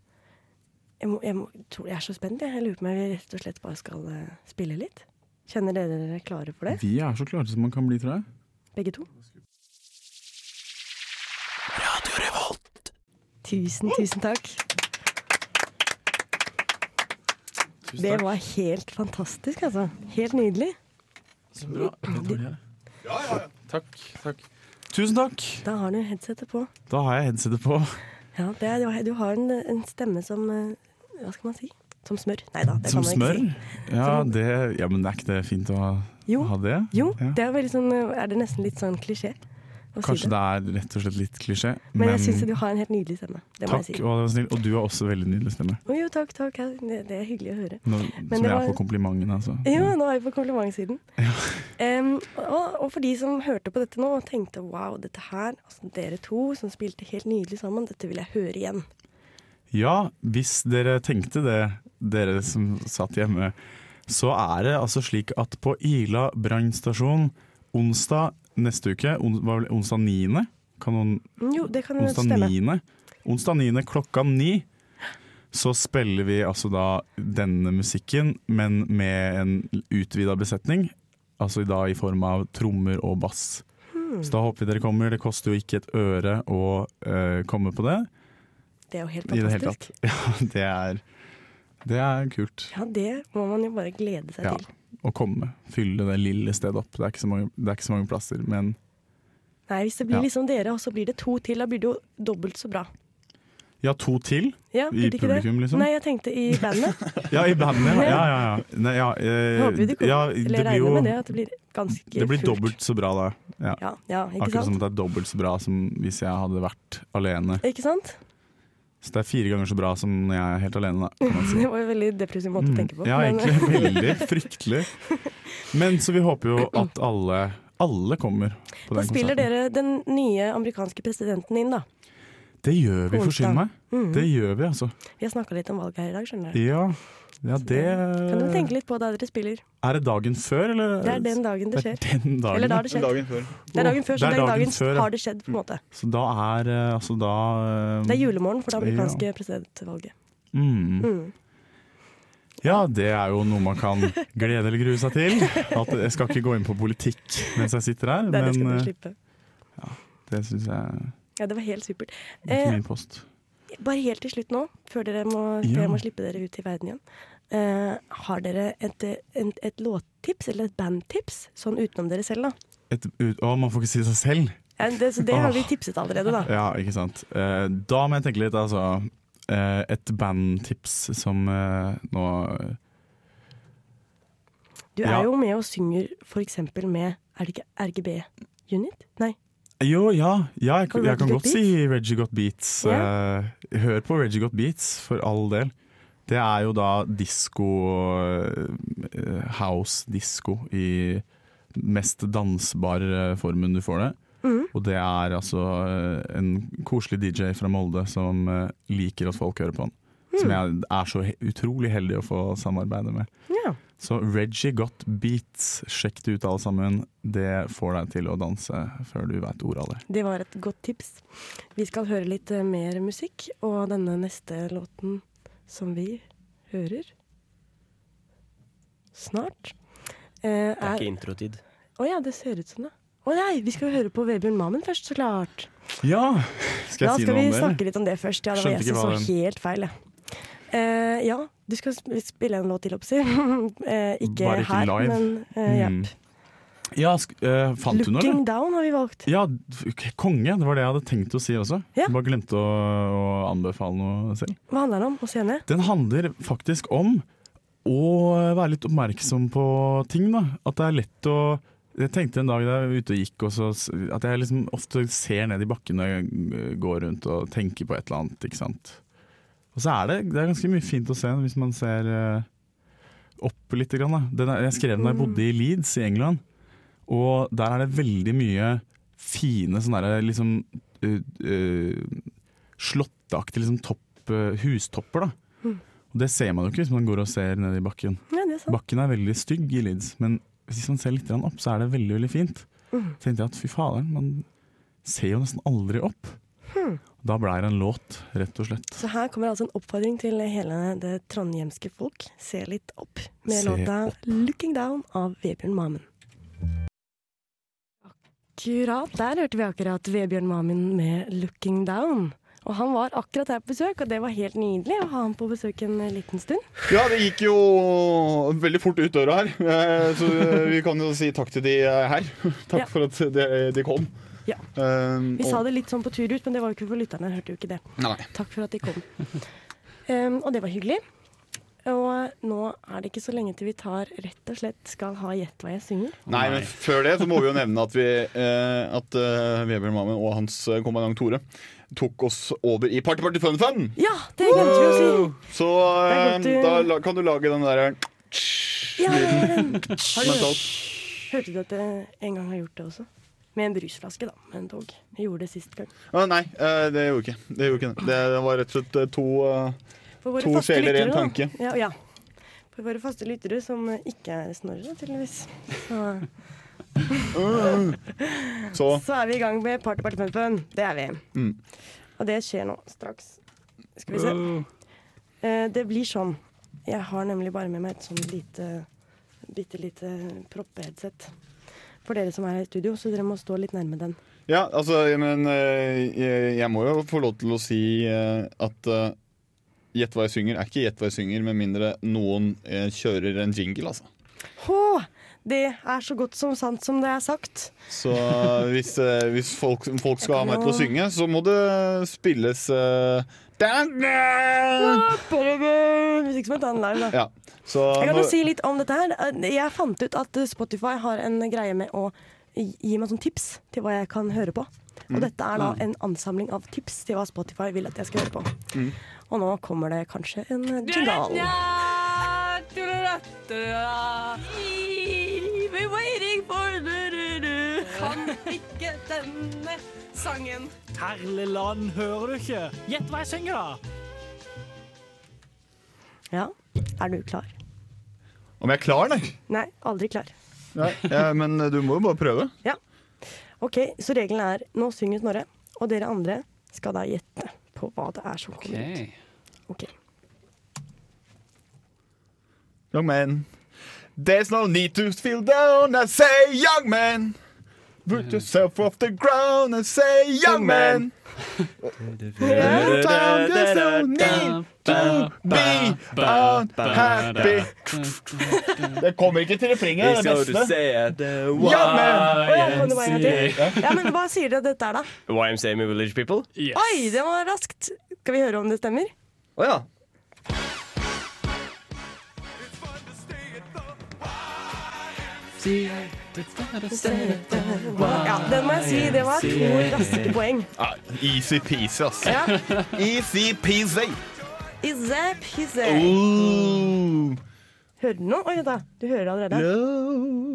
Jeg, må, jeg, må, tror jeg er så spent. Jeg Jeg lurer på om jeg rett og slett bare skal eh, spille litt. Kjenner dere dere klare for det?
Vi er så klare som man kan bli, tror jeg.
Begge to? Tusen, tusen takk. Det var helt fantastisk, altså. Helt nydelig.
Så bra. Det tar de her. Takk, takk. Tusen takk.
Da har du headsetet på.
Da har jeg headsetet på.
Ja, det er, du har en, en stemme som eh, Hva skal man si? Som smør. Nei da, det
Som
kan man
smør?
ikke si.
Ja, det, ja, men er ikke det fint å ha,
Jo.
ha det?
Jo, det er, veldig sånn, eh, er det nesten litt sånn klisjé. å si
Kanskje det er rett og slett litt klisjé,
Men, jeg syns du har en helt nydelig stemme. Det må
takk,
jeg si.
og, det var snill. og du har også veldig nydelig stemme.
Å, Jo, takk, takk. ja, Det, det er hyggelig å høre.
Nå,
Men
som
det
jeg
var-
får komplimenten, altså.
Jo, nå er vi på komplimentsiden. Em, og, og for de som hørte på dette nå og tenkte wow, dette her, altså dere to som spilte helt nydelig sammen, dette vil jeg høre igjen.
Ja, hvis dere tenkte det, dere som satt hjemme, så er det altså slik at på Ila brannstasjon onsdag neste uke, on, hva var det, onsdag 9., kan noen
Mm, Jo, det kan jo
Onsdag
stemme.
9. Onsdag 9. klokka 9 så spiller vi altså da denne musikken, men med en utvida besetning. Altså da i form av trommer og bass.
Hmm.
Så da håper vi dere kommer. Det koster jo ikke et øre å eh, komme på det.
Det er jo helt
I det hele
fantastisk.
tatt. Ja, det er, det er kult.
Ja, det må man jo bare glede seg
Ja,
til.
Å komme. Fylle det lille stedet opp. Det er ikke så mange, det er ikke så mange plasser, men
Nei, hvis det blir
Ja.
liksom dere, og så blir det to til, da blir det jo dobbelt så bra.
ja, to til.
Ja,
I
blir det ikke det?
publikum, liksom?
Nei, jeg tenkte i bandet.
Ja, i bandet. Ja, ja, ja. Nei, ja, eh,
Jeg håper jo de kommer.
ja,
Eller
det blir
regner
jo-
med det, at det blir ganske
Det blir
fullt.
dobbelt så bra da. Ja.
Ja, ja, ikke
Akkurat som
sant?
at det er dobbelt så bra som hvis jeg hadde vært alene.
Ikke sant?
Så det er fire ganger så bra som når jeg er helt alene, da. Kan man si.
Det var jo en veldig depressiv måte å tenke på.
Mm. Ja,
men-
egentlig veldig fryktelig. Men så vi håper jo at alle, alle kommer på
Da eh,
den
spiller dere
konserten.
den nye amerikanske presidenten inn, da.
Det gjør vi,
På
forsyn
onsdag.
meg.
Mhm.
Det gjør vi, altså.
Vi har snakka litt om valget her i dag, skjønner du.
Ja, ja det
Kan dere tenke litt på da dere spiller?
Er det dagen før, eller?
Det er den dagen det skjer.
Det er den dagen,
Eller da
ja.
har det skjedd. Det er dagen før, så
Det er
den
dagen
dagen
før, ja.
har det skjedd, på en måte.
Så da er eh, altså da eh,
Det er julemorgen for det amerikanske
Ja.
presidentvalget.
Mm.
Mm.
Ja, det er jo noe man kan glede eller grue seg til. At jeg skal ikke gå inn på politikk mens jeg sitter her,
Det, er det skal
men
dere
eh,
slippe.
det syns jeg
Ja, det var helt supert.
det er
Eh,
ikke min post.
Bare helt til slutt nå, før dere må,
Ja.
før jeg må slippe dere ut i verden igjen. Eh, har dere et, et, et låttips eller et bandtips, sånn utenom dere selv, da?
Et, ut, å, man får ikke si seg selv!
Ja, det, så det har vi
Åh.
tipset allerede, da.
Ja, ikke sant. Eh, da må jeg tenke litt, altså. Eh, et bandtips som eh, nå
Du er
Ja.
jo med og synger for eksempel med Er det ikke RGB Unit? Nei.
Jo, ja. ja jeg,
Har du
jeg
Reggie
kan
Got
godt si Reggie Got Beats. Eh, hør på Reggie Got Beats, for all del. Det er jo da disko eh, House-disko i mest dansbare formen du får det.
Mm.
Mhm.
Og det er altså eh, en koselig DJ fra Molde som eh, liker at folk hører på han. Som jeg
Mm.
er så he utrolig heldig å få samarbeide med.
Ja.
Så Reggie Got Beats, sjekk det ut alle sammen. Det får deg til å danse før du veit ordet av det.
Det var et godt tips. Vi skal høre litt eh, mer musikk, og denne neste låten som vi hører snart eh,
Det er
er
ikke introtid.
Å ja, det ser ut som det. Å nei, vi skal jo høre på Vebjørn Mamen først, så klart.
Ja! Skal jeg
da
si
skal
noe
vi
om det?
snakke litt om det først. Ja, det var
Skjønte
jeg
ikke
som
hva
så
den-
helt feil, jeg. Eh, ja, du skal sp- spille en låt til, oppsi. uh, ikke,
Bare ikke
her,
live.
men eh, ja.
Mm. Ja, sk eh, fant du noe,
Looking
eller?
Down har vi valgt.
Ja, d- k- konge. Det var det jeg hadde tenkt å si også. Bare glemte å, å anbefale noe selv.
Hva handler den om hos henne?
Den handler faktisk om å være litt oppmerksom på ting. Da. At det er lett å Jeg tenkte en dag da jeg var ute og gikk, og så, s- at jeg liksom ofte ser ned i bakken når jeg øh, går rundt og tenker på et eller annet. Ikke sant? Og så er det, det er ganske mye fint å se hvis man ser øh, opp litt. Grann, da. Den er, jeg skrev den da jeg bodde i Leeds i England, og der er det veldig mye fine sånne der, liksom, øh, øh, slåtteaktige liksom, topp, øh, hustopper. da og det ser man jo ikke hvis man går og ser ned i bakken.
Ja, det er sant.
Bakken er veldig stygg i Leeds, men hvis man ser litt grann opp, så er det veldig veldig fint.
Mhm.
tenkte jeg at fy faderen, man ser jo nesten aldri opp.
Hmm.
Da blei det en låt, rett og slett.
Så her kommer altså en oppfordring til hele det trondhjemske folk. Se litt opp med
Se
låta 'Looking Down' av Vebjørn Mamen. Akkurat der hørte vi akkurat Vebjørn Mamen med 'Looking Down'. Og han var akkurat her på besøk, og det var helt nydelig å ha han på besøk en liten stund.
Ja, det gikk jo veldig fort ut døra her, eh, så vi kan jo si takk til de eh, her. Takk
Ja.
for at de, de kom.
Ja.
Um,
Vi sa det litt sånn på tur ut, men det var jo ikke for lytterne, hørte jo ikke det.
Nei.
Takk for at de kom. Um, og det var hyggelig. Og nå er det ikke så lenge til vi tar rett og slett skal ha Gjett hva jeg synger.
Nei, men før det så må vi jo nevne at vi eh, At eh, Vebjørn Mammen og hans eh, kompanjong Tore tok oss over i Party Party Fun Fun.
Ja, det glemte vi å si.
Så
er
eh,
godt du-
da la- kan du lage den der eh,
Ja, det var den. Har du
mentalt.
Hørte du at jeg en gang har gjort det også? Med en brusflaske, da. Men dog. Jeg gjorde det sist gang.
Ah, nei, eh, det gjorde ikke. Det gjorde ikke det. Det, det var rett og slett eh, to eh,
For våre
To
faste
sjeler,
lyttere,
en
da.
tanke.
Ja, ja. For våre faste lyttere som ikke er Snorre, da, tydeligvis. Så,
Så
så er vi i gang med Party Party Fun Fun. Det er vi.
mm.
Og det skjer nå straks. Skal vi se. Eh, Det blir sånn. Jeg har nemlig bare med meg et sånn lite bitte lite proppeheadset. For dere som er her i studio, så dere må stå litt nærme den.
Ja, altså, men eh, jeg, jeg må jo få lov til å si eh, at eh, Gjett hva jeg synger er ikke Gjett hva jeg synger, med mindre noen eh, kjører en jingle, altså.
Hå! Det er så godt som sant som det er sagt.
Så hvis, eh, hvis folk, folk skal ha meg til å synge, så må det spilles eh,
eh, Hvis ikke så må jeg ta den live, da.
Ja. Så
Jeg kan jo
når-
si litt om dette her. Eh, Jeg fant ut at Spotify har en greie med å gi meg sånn tips til hva jeg kan høre på. Og
Mm.
dette er da
Mm.
en ansamling av tips til hva Spotify vil at jeg skal høre på.
Mm.
Og nå kommer det kanskje en jingle.
We're waiting for
kan ikke denne sangen.
Herligland, hører du ikke? Gjett hva jeg synger, da!
Ja, er du klar?
Om jeg er klar, nei?
Nei, aldri klar.
nei ja, men eh, du må jo bare prøve.
Ja. Ok, så regelen er nå synger Snorre, og dere andre skal da gjette på hva det er som kommer ut. Ok.
Young man. There's no need to feel down. I say, young man. Put yourself off the ground and say, young man. There's no need to be unhappy. Det kommer ikke til refrenget, det er det beste.
Å, nå var jeg til. Ja, men hva sier dere at dette er, da?
YMCA med Village People?
Oi, det var raskt! Skal vi høre om det stemmer?
Å ja.
Ja, den må jeg si. Det var to raske poeng.
Ja, Easy peasy, ass.
Ja.
Easy peasy.
Izep,
Oh.
Hører du noe? Oi, vent da. Du hører allerede?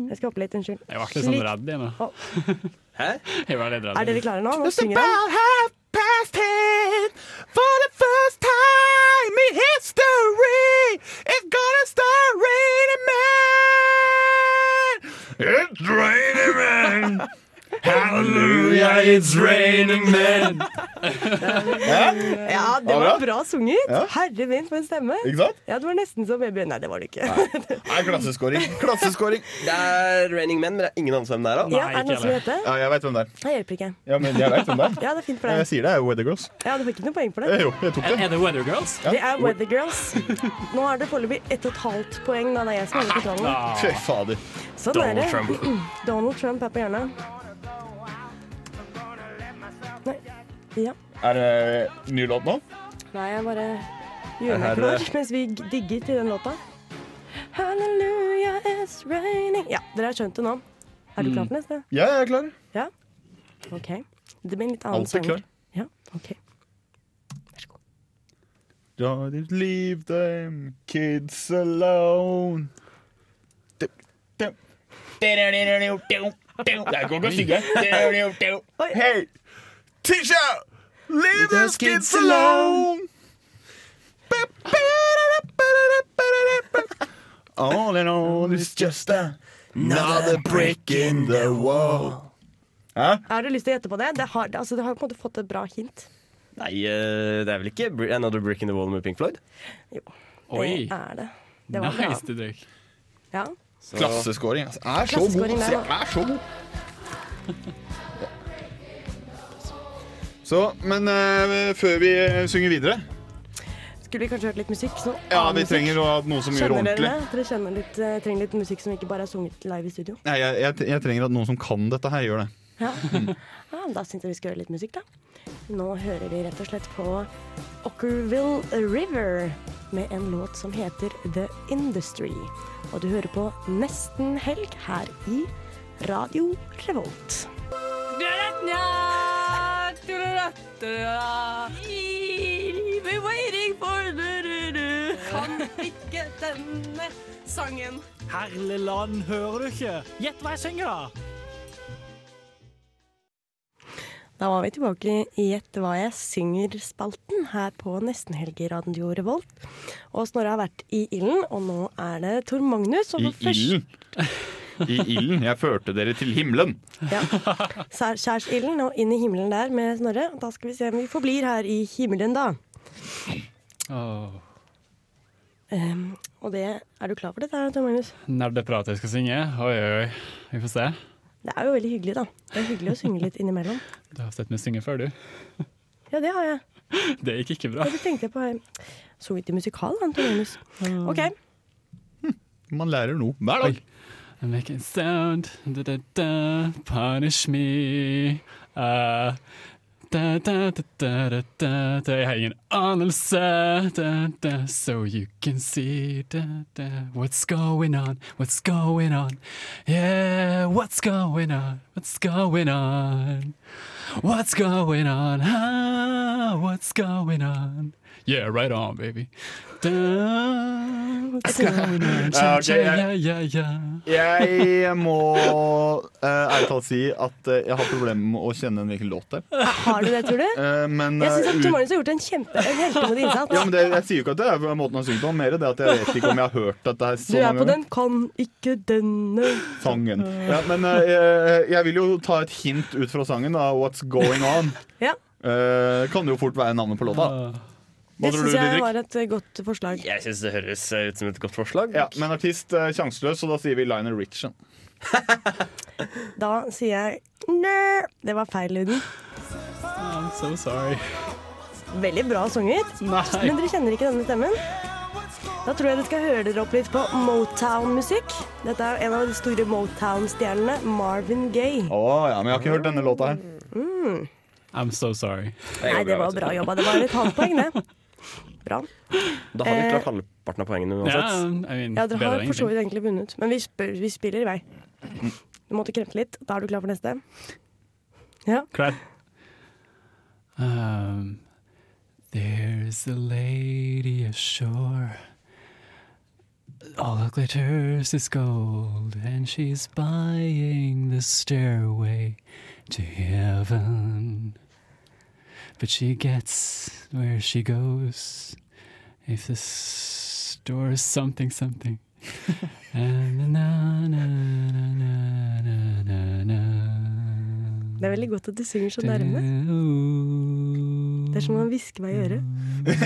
Jeg skal hoppe litt. Unnskyld.
Jeg var litt sånn redd jeg nå.
Hæ?
Jeg var litt redd.
Er dere klare nå? Nå
It's
synger han.
about half past ten for the first time in history. It's gonna start raining man.
It's raining man.
Hallelujah, it's raining man.
Ja, det
Ja, bra.
var bra sunget. Herre min, for en stemme.
Ikke sant?
Ja, det var nesten som baby. Nei, det var det ikke.
Nei, klasseskåring. Klasseskåring.
Det er Raining Men, men det er ingen anelse hvem det er. da.
Ja, er det noen som vet det?
Ja, jeg vet hvem det er.
Det hjelper ikke.
Ja, men jeg vet hvem det er.
Ja, det er fint for
Jeg
deg.
sier det er Weather Girls.
Ja, du får ikke noe poeng for
Eh,
det.
Jo, jeg tok det.
Er det Weather Girls?
Det er Weather Girls. Nå er det foreløpig ett og et halvt poeng. Nei, det er jeg som holder kontrollen.
Fy fader.
Sånn er det. Donald Trump er på hjernen. Nei. Ja.
Er det ny låt nå?
Nei, jeg bare gjør meg
Er det-
klar mens vi digger til den låta. Hallelujah, it's raining Ja, dere har skjønt det nå. Er du
Mm.
klar for neste?
Ja, jeg er klar.
Ja? OK. Det blir en litt annen
Alltid klar.
Ja, OK.
Don't leave them kids alone. Dum, dum. Du-du-du-du-du, dum, dum. Jeg går ikke og synger. Du-du-du-du. Hey, Tisha! Leave those kids alone! All in all, it's just a another brick in the wall. Hæ?
Har du lyst til å gjette på det? Det har, det- altså, det har på en måte fått et bra hint.
Nei, eh, det er vel ikke Bri- Another Brick in the Wall med Pink Floyd?
Det er det. Det var bra. Ja.
Så-
Klasseskåring, altså. Er så god.
Klasseskåring der,
altså.
da.
Er så god. Så, men eh, før vi eh, synger videre
Skulle vi kanskje hørt litt musikk? Sånn
Ja,
annen
vi
musikk?
trenger å ha noe som gjør
Skjønner
ordentlig.
dere det? Dere kjenner litt, eh, trenger litt musikk som ikke bare er sunget live i studio?
Nei, jeg, jeg, jeg trenger at noen som kan dette her, gjør det.
Ja. ja, Da syns jeg vi skal høre litt musikk, da. Nå hører vi rett og slett på Ockerville River med en låt som heter The Industry. Og du hører på Nesten Helg her i Radio Revolt. We're waiting for Kan ikke denne sangen.
Herligland, hører du ikke? Gjett hva jeg synger, da.
Da var vi tilbake i Gjett hva jeg synger-spalten her på Nestenhelg i Radio Revolt. Og Snorre har vært i ilden, og nå er det Tor Magnus. Og
I
for først-
ilden. I ilden. Jeg førte dere til himmelen.
Skjær- Skjærsilden og inn i himmelen der med Snorre. Da skal vi se om vi forblir her i himmelen, da. Ehm, og det Er du klar for dette, her, Tor Magnus?
Nerdeprat jeg skal synge. Oi, oi, oi. Vi får se.
Det er jo veldig hyggelig, da. Det er hyggelig å synge litt innimellom.
Du har sett meg synge før, du.
Ja, det har jeg.
Det gikk ikke bra.
Og så tenkte jeg på eh, Så vidt i musikal, da, Tor Magnus.
Mm.
OK.
Man lærer noe hver dag.
I make a sound, da, da, da, punish me. Uh, da, da, da, da, da, da, da. Jeg har ingen anelse, oh, da, da, so you can see da, da. What's going on, what's going on? Yeah, what's going on, what's going on? What's going on, ah, what's going on? Yeah, right on, baby. Da,
Ja, ok, jeg-
ja, ja.
Jeg må eh, ærlig talt si at eh, jeg har problemer med å kjenne hvilken låt det er.
Har du det, tror du?
Eh, Men,
jeg syns
eh,
at
ut-
Tor Magnus har gjort en kjempe en heltemodig innsats.
ja, men det, jeg sier jo ikke at det er måten han synger på, mer det at jeg vet ikke om jeg har hørt dette her
du
så
er
mange
på
ganger.
den, kan ikke denne
Sangen. Ja, men eh, jeg, jeg vil jo ta et hint ut fra sangen, da. What's Going On.
Ja.
Eh, kan det jo fort være navnet på låta.
Uh,
Hva
Det
tror
syns
du,
jeg
Didrik?
var et eh, godt forslag.
Jeg syns det høres
eh,
ut som et godt forslag. Ja, Men artist eh, sjanseløs, så da sier vi Lionel Richon.
Da sier jeg nø. Det var feil lyden.
I'm so sorry.
Veldig bra sunget. Men dere kjenner ikke denne stemmen? Da tror jeg dere skal høre dere opp litt på Motown-musikk. Dette er en av de store Motown-stjernene, Marvin Gaye.
Å ja, men jeg har ikke hørt denne låta her.
Mm.
I'm so sorry.
Nei, det var bra jobba. Det var et halvt poeng, det. Bra.
Da har vi
Eh,
klart halvparten av poengene uansett.
Ja, dere har for så vidt egentlig vunnet, men vi, spør, vi spiller i vei.
Mm.
Du måtte kremte litt. Da er du klar for neste.
Klar. Um, there's a lady ashore. All that glitters is gold, and she's buying the stairway to heaven. But she gets where she goes if the store is something, something. and na, na, na, na, na, na, na.
Det er veldig godt at du synger så nærme. Det er som å hviske meg i øret.
Det, er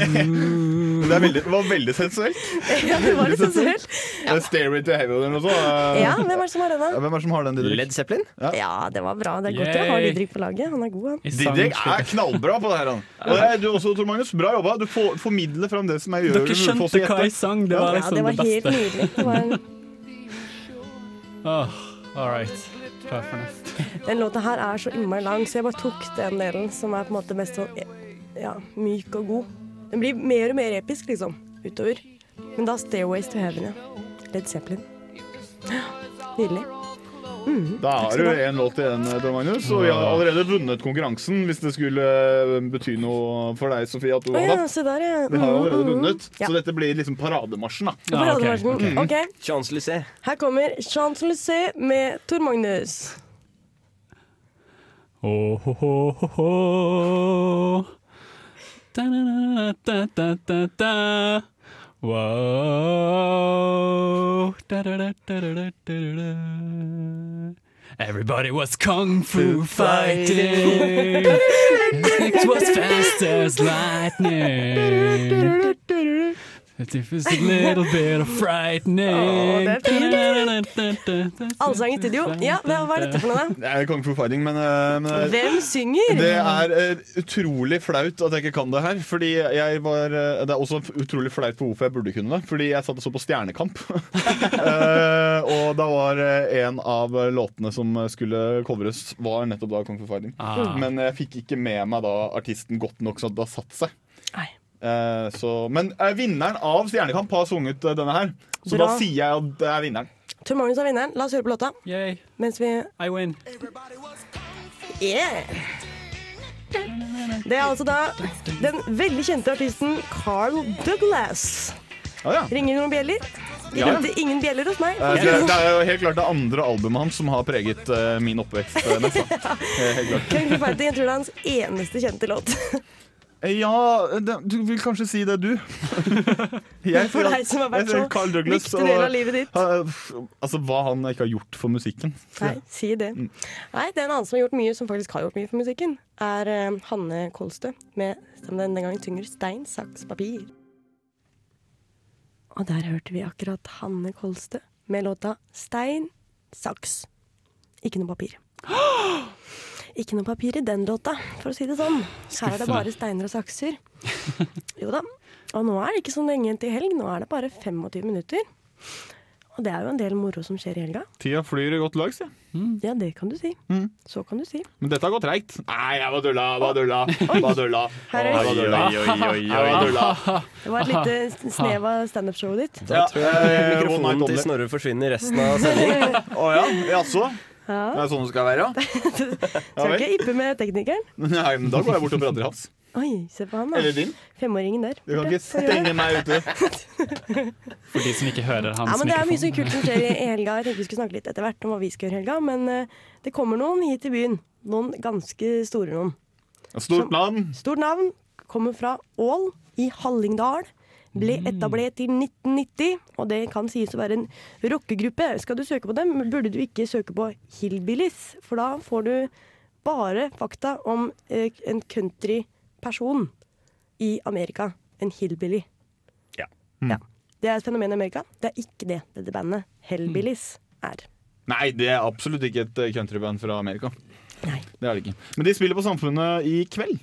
veldig, det var veldig sensuelt.
Ja, det var litt sensuelt.
Ja. Stairway to Heaven eller noe sånt. eh.
Ja, hvem er det som har den, da?
Ja, Hvem er det som har den, Didrik?
Led Zeppelin?
Ja,
det var bra. Det er godt dere har Didrik på laget. Han er god, han.
Didrik er knallbra på det her. Han. Og det er du også, Tor Magnus. Bra jobba. Du for, formidler fram det som jeg gjør.
Dere skjønte hva jeg sang, det var liksom Ja, det var det helt beste. nydelig.
Det var en
Åh, Ah, all right. Klar for neste.
Den låta her er så innmari lang, så jeg bare tok den delen som er på en måte mest sånn ja, myk og god. Den blir mer og mer episk, liksom, utover. Men da 'Stairways to Heaven', ja. Led Zeppelin. Nydelig. Takk
Da har
skal
du
du ha.
én låt igjen, eh, Tor Magnus. Og vi har allerede vunnet konkurransen, hvis det skulle eh, bety noe for deg, Sofie. At du
Å
var
ja,
da.
se der, ja.
Vi har jo allerede
Mm, mm, mm.
vunnet,
Ja.
så dette blir liksom parademarsjen, da.
Ja,
Ah,
parademarsjen.
Mhm.
ok, ok. Ok.
Champs-Lycée.
Her kommer Champs-Élysées med Tor Magnus.
Oh, ho, ho, ho, ho. Da, da, da, da, da, da. Whoa. Da, da, da, da, da, da, da, da. Everybody was kung fu fighting. It was fast as lightning. It was a little bit of frightening.
Å, det er fint.
Da, da, da, da, da, da.
Allsang i studio. Ja, hva var dette for noe, da?
Det er Kung Fu Fighting, men, eh, men
Hvem synger?
Det er eh, utrolig flaut at jeg ikke kan det her. Fordi jeg var eh, Det er også utrolig flaut på hvorfor jeg burde kunne det. Fordi jeg satt og så på Stjernekamp. Eh, og da var eh, en av låtene som skulle covres, var nettopp da Kung Fu Fighting.
Ah.
Men jeg fikk ikke med meg da artisten godt nok, så det har satt seg.
Nei.
Eh, så, men eh, vinneren av Stjernekamp har sunget eh, denne her, så
Bra.
da sier jeg at det er vinneren.
Tor Magnus er vinneren. La oss høre på låta. Mens vi
I win.
Yeah. Det er altså da den veldig kjente artisten Carl Douglas. Ringer det noen bjeller? Det
Ja.
ringte ingen bjeller hos meg.
Eh, Det, det er jo helt klart det andre albumet hans som har preget eh, min oppvekst. eh, mest, da. Eh, helt klart.
Kung Fu Fighting, jeg tror det er hans eneste kjente låt.
Eh, Ja, det, du vil kanskje si det, du. Jeg
For deg som har vært
jeg tror
så
Carl Douglas
viktig del
og-
av livet ditt.
Eh, f- altså, hva han ikke har gjort for musikken.
Nei, si det. Nei, det er en annen som har gjort mye, som faktisk har gjort mye for musikken, er eh, Hanne Kolstø med, som den den gangen synger, 'Stein, saks, papir'. Og der hørte vi akkurat Hanne Kolstø med låta 'Stein, saks'. Ikke noe papir. Ikke noe papir i den låta, for å si det sånn. Her er det
Skuffende.
bare steiner og sakser. Jo da. Og nå er det ikke så lenge til helg, nå er det bare 25 minutter. Og det er jo en del moro som skjer i helga.
Tida flyr i godt lag, sier jeg.
Ja, det kan du si. Så kan du si.
Men dette har gått treigt. Nei, jeg var dulla, jeg var dulla, jeg var dulla.
Her er
Jeg var
det.
dulla.
Oi, oi, oi, oi.
Jeg var dulla.
Det var et lite snev av standup-showet ditt.
Da tror jeg
eh, One Night
mikrofonen
Only.
til Snorre forsvinner resten av sendingen.
Å ja, jaså?
Ja.
Det er sånn det skal være, ja?
Skal ikke ippe med teknikeren.
Nei, men da går jeg bort og prater i hans.
Oi, se på han, da.
Eller din.
Femåringen der.
Du kan
Ja,
ikke
får gjøre
stenge
det.
meg ute.
For de som ikke hører hans
Ja, men Det er mye
mikrofon.
som kult som skjer i i helga. Jeg tenkte vi skulle snakke litt etter hvert om hva vi skal gjøre i helga, men eh, det kommer noen hit til byen. Noen ganske store noen.
Stort navn.
Stort navn. Kommer fra Ål i Hallingdal. Ble etablert i 1990, og det kan sies å være en rockegruppe. Skal du søke på dem, burde du ikke søke på Hillbillies, for da får du bare fakta om eh, en countryperson i Amerika. En hillbilly.
Mm.
Det er et fenomen i Amerika. Det er ikke det dette bandet Hellbillies er.
Nei, det er absolutt ikke et eh, countryband fra Amerika. Det er det ikke. Men de spiller på Samfunnet i kveld.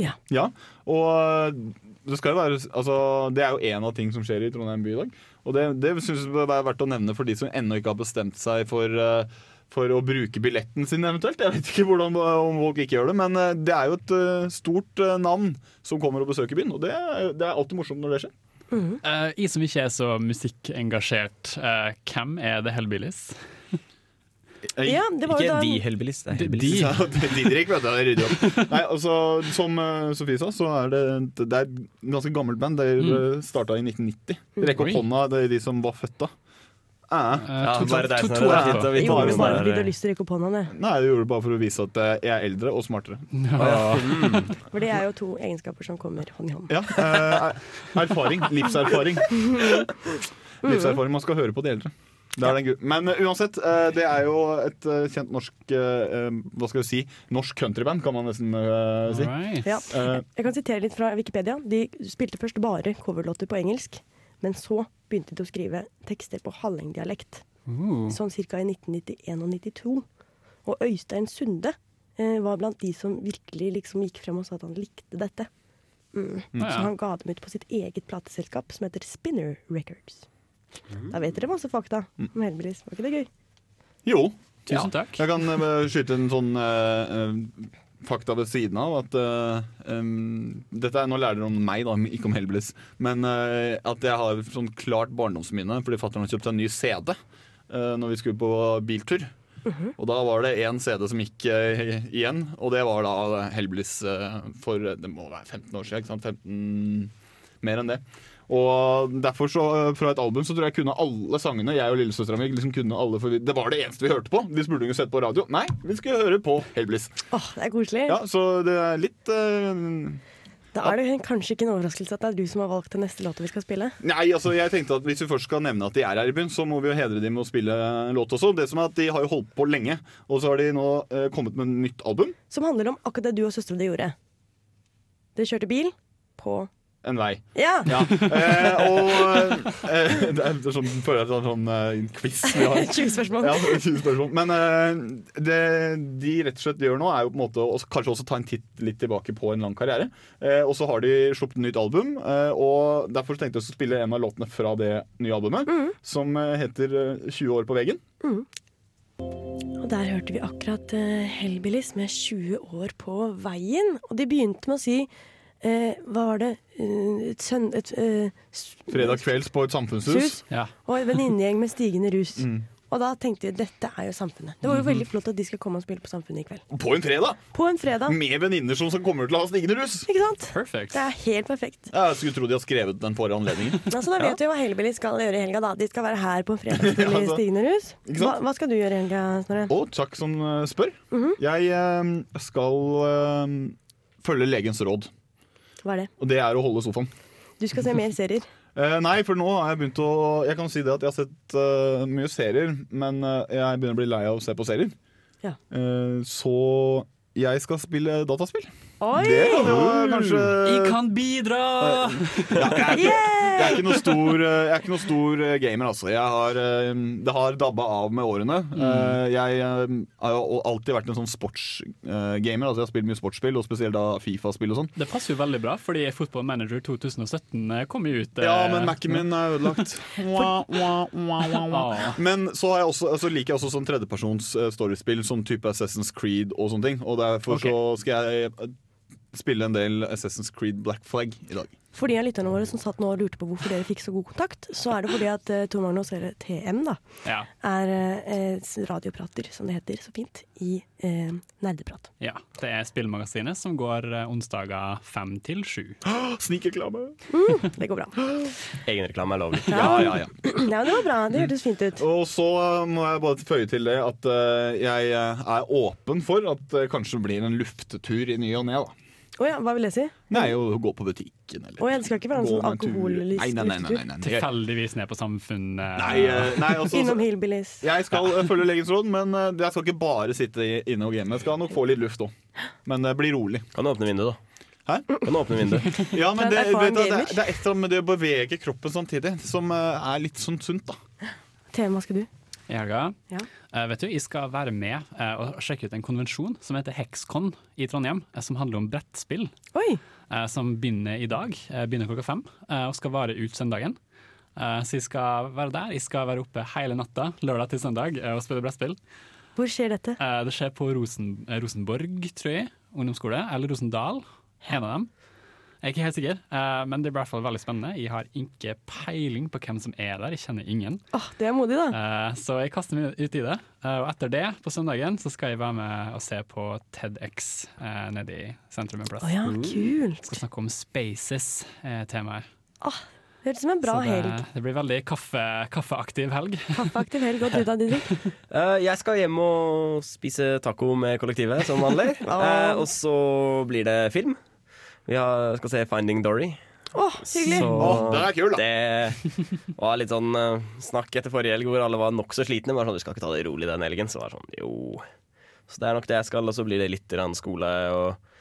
Ja.
Og eh, det, skal jo være, altså, det er jo én av ting som skjer i Trondheim by i dag. Og det, det syns jeg er verdt å nevne for de som ennå ikke har bestemt seg for eh, for å bruke billetten sin eventuelt. Jeg vet ikke hvordan, eh, om folk ikke gjør det, men eh, det er jo et eh, stort eh, navn som kommer og besøker byen. Og det er, det er alltid morsomt når det skjer.
Eh, I som ikke er så musikkengasjert, eh, hvem er The Hellbillies?
Ja, det var jo Ikke da- de
Hellbillies, det er
Hellbillies.
Ja, Didrik, vet du, det rydder opp. Nei, altså, som eh, Sofie sa, så er det, det er et ganske gammelt band. Det mm. starta i 1990. Rekk opp
Oi.
hånda, det er de som var født da. Eh,
Ja, to- bare to- deg, to- så to det er er fint da. å vite
Jo,
hvor
hvis
man
bare
er.
fordi du har lyst til å rekke opp hånda, det.
Nei, jeg gjorde det bare for å vise at jeg er eldre og smartere.
Ja.
Mm.
For det er jo to egenskaper som kommer hånd i hånd.
Ja, eh, erfaring. Livserfaring. Mm. Livserfaring. Man skal høre på de eldre. Det er den gru- Men eh, uansett, eh, det er jo et eh, kjent norsk eh, eh, Hva skal vi si? Norsk countryband, kan man nesten eh, si.
Ja.
Eh,
Jeg kan sitere litt fra Wikipedia. De spilte først bare coverlåter på engelsk, men så begynte de å skrive tekster på hallingdialekt.
Uh.
Sånn ca. i 1991 og 92. Og Øystein Sunde eh, var blant de som virkelig liksom gikk frem og sa at han likte dette. Mm.
Ja, ja.
Så han ga dem ut på sitt eget plateselskap som heter Spinner Records. Da vet dere masse fakta om Hellbillies. Var ikke det gøy?
Jo.
Tusen takk.
Jeg kan eh, skyte en sånn eh, eh, fakta ved siden av at eh, em, Dette er, Nå lærer dere om meg, da, ikke om Hellbillies. Men eh, at jeg har sånn klart barndomsminne fordi fatter'n kjøpte en ny CD uh, når vi skulle på biltur. Og da var det én CD som gikk eh, igjen, og det var da Hellbillies eh, for eh, Det må være 15 år siden, ikke sant? 15 mer enn det. Og derfor så, eh, fra et album så tror jeg jeg kunne alle sangene. Jeg og lillesøstera mi liksom kunne alle. For vi, det var det eneste vi hørte på. Vi burde jo sett på radio. Nei, vi skulle høre på Hellbillies.
Åh, det er koselig.
Ja, så det er litt eh,
Da er det kanskje ikke en overraskelse at det er du som har valgt den neste låta vi skal spille.
Nei, altså jeg tenkte at hvis vi først skal nevne at de er her i byen, så må vi jo hedre dem med å spille en låt også. Det som er at De har jo holdt på lenge, og så har de nå eh, kommet med et nytt album.
Som handler om akkurat det du og søstera di gjorde. Dere kjørte bil på
En vei.
Ja!
Eh, og eh, Det er sånn, føler jeg det er sånn eh, en quiz vi har.
20 spørsmål.
Ja, 20 spørsmål. Men eh, det de rett og slett gjør nå, er jo på en måte å s- kanskje også ta en titt litt tilbake på en lang karriere. Eh, og så har de sluppet nytt album, eh, og derfor tenkte jeg å spille en av låtene fra det nye albumet, som eh, heter eh, 20 år på veggen.
Og der hørte vi akkurat eh, Hellbillies med 20 år på veien. Og de begynte med å si eh, Hva var det? Eh, et sønn... Et, eh, s-
Fredag kvelds på et samfunnshus.
Sus. og en venninnegjeng med stigende rus. Og da tenkte vi dette er jo Samfunnet. Det var jo
Mm. Mhm.
veldig flott at de skal komme og spille på Samfunnet i kveld.
På en fredag!
På en fredag.
Med venninner som, som kommer til å ha stigende rus.
Ikke sant?
Perfect.
Det er helt perfekt.
Jeg skulle tro de har skrevet den for anledningen.
Altså, da vet vi hva Hellbillies skal gjøre i helga. da De skal være her på en fredagskveld i
Ja, da.
stigende rus.
Ikke
Hva,
sant?
hva skal du gjøre i helga, Snorre?
Og takk som eh, spør. Jeg eh, skal eh, følge legens råd,
Hva er det?
og det er å holde sofaen.
Du skal se mer serier.
Eh, nei, for nå har jeg begynt å Jeg kan si det at jeg har sett eh, mye serier, men eh, jeg begynner å bli lei av å se på serier.
Ja.
Eh, så jeg skal spille dataspill.
Oi!
Det kan jo kanskje
Vi kan bidra!
ja, jeg, er ikke, jeg, er ikke noe stor, eh, jeg er ikke noe stor eh, gamer, altså. Jeg har, eh, det har dabba av med årene.
Mm.
Eh, Jeg eh, har jo alltid vært en sånn sportsgamer. Altså jeg har spilt mye sportsspill, og spesielt da Fifa-spill og sånn.
Det passer jo veldig bra, fordi Football Manager 2017 eh, kom jo ut eh,
Ja, men Mac-en min er ødelagt.
Ah.
Men så, har jeg også, altså liker jeg også sånn tredjepersons eh, storiespill, sånn type Assassin's Creed og sånne ting. Og derfor så skal jeg eh, spille en del Assassin's Creed Black Flag i dag.
For de av lytterne våre som satt nå og lurte på hvorfor dere fikk så god kontakt, så er det fordi at eh, Tor Magnus, eller TM, da,
Ja.
er eh, radioprater, som det heter så fint, i eh, Nerdeprat.
Ja, det er Spillmagasinet som går eh, onsdager fem til sju.
Snikreklame!
Mm, det går bra.
Egenreklame er lovlig.
Ja, ja, ja.
Ja, men det var bra. Det hørtes fint ut.
Og så eh, må jeg bare føye til det at eh, jeg eh, er åpen for at det kanskje blir en luftetur i ny og ne. da.
Å ja, hva vil det si?
Nei, å gå på butikken eller
Å ja, det skal ikke være noe
Gå
sånn
en tur.
alkohollyst
Nei, nei, nei, nei, nei, nei.
Tilfeldigvis ned på Samfunnet.
Nei, eh, nei, altså-
Innom Hillbillies.
Jeg skal eh, følge legens råd, men eh, jeg skal ikke bare sitte i- inne og game. Jeg skal nok få litt luft òg. Men eh, bli rolig.
Kan du åpne vinduet,
da? Hæ?
Kan du åpne vinduet?
Ja, men
Du er en
det, vet
erfaren
du, det,
gamer.
det er et eller annet med det å bevege kroppen samtidig som eh, er litt sånn sunt, da.
Tema skal du?
I helga.
Ja.
Eh, vet du, Jeg skal være med eh, og sjekke ut en konvensjon som heter Hexcon i Trondheim, eh, som handler om brettspill. Eh, som begynner i dag, eh, begynner klokka fem, eh, og skal vare ut søndagen. Eh, så jeg skal være der. Jeg skal være oppe hele natta, lørdag til søndag, eh, og spille brettspill.
Hvor skjer dette?
Eh, det skjer på Rosen, eh, Rosenborg, tror jeg, ungdomsskole, eller Rosendal. En av dem. Jeg er ikke helt sikker, eh, men det blir i hvert fall veldig spennende. Jeg har ikke peiling på hvem som er der, jeg kjenner ingen.
Åh, det er modig, da.
Eh, Så jeg kaster meg ut i det. Eh, Og etter det, på søndagen, så skal jeg være med og se på TEDX eh, nede i sentrum en plass.
Å
Mm.
ja, kult.
Skal snakke om spaces, eh, temaet.
Det høres ut som en bra
så det,
helg.
det blir veldig kaffe, kaffeaktiv helg.
Kaffeaktiv helg. Og du da, Didrik?
Eh, jeg skal hjem og spise taco med kollektivet, som vanlig.
Ah.
Eh, og så blir det film. Vi har, skal se 'Finding Dory'.
Å, hyggelig.
Så
Å,
den er kul, da.
Det var litt sånn eh, snakk etter forrige helg hvor alle var nokså slitne. Men var sånn, vi skal ikke ta det rolig den helgen. Så var det sånn, jo. Så det er nok det jeg skal. Og så blir det litt grann skole og,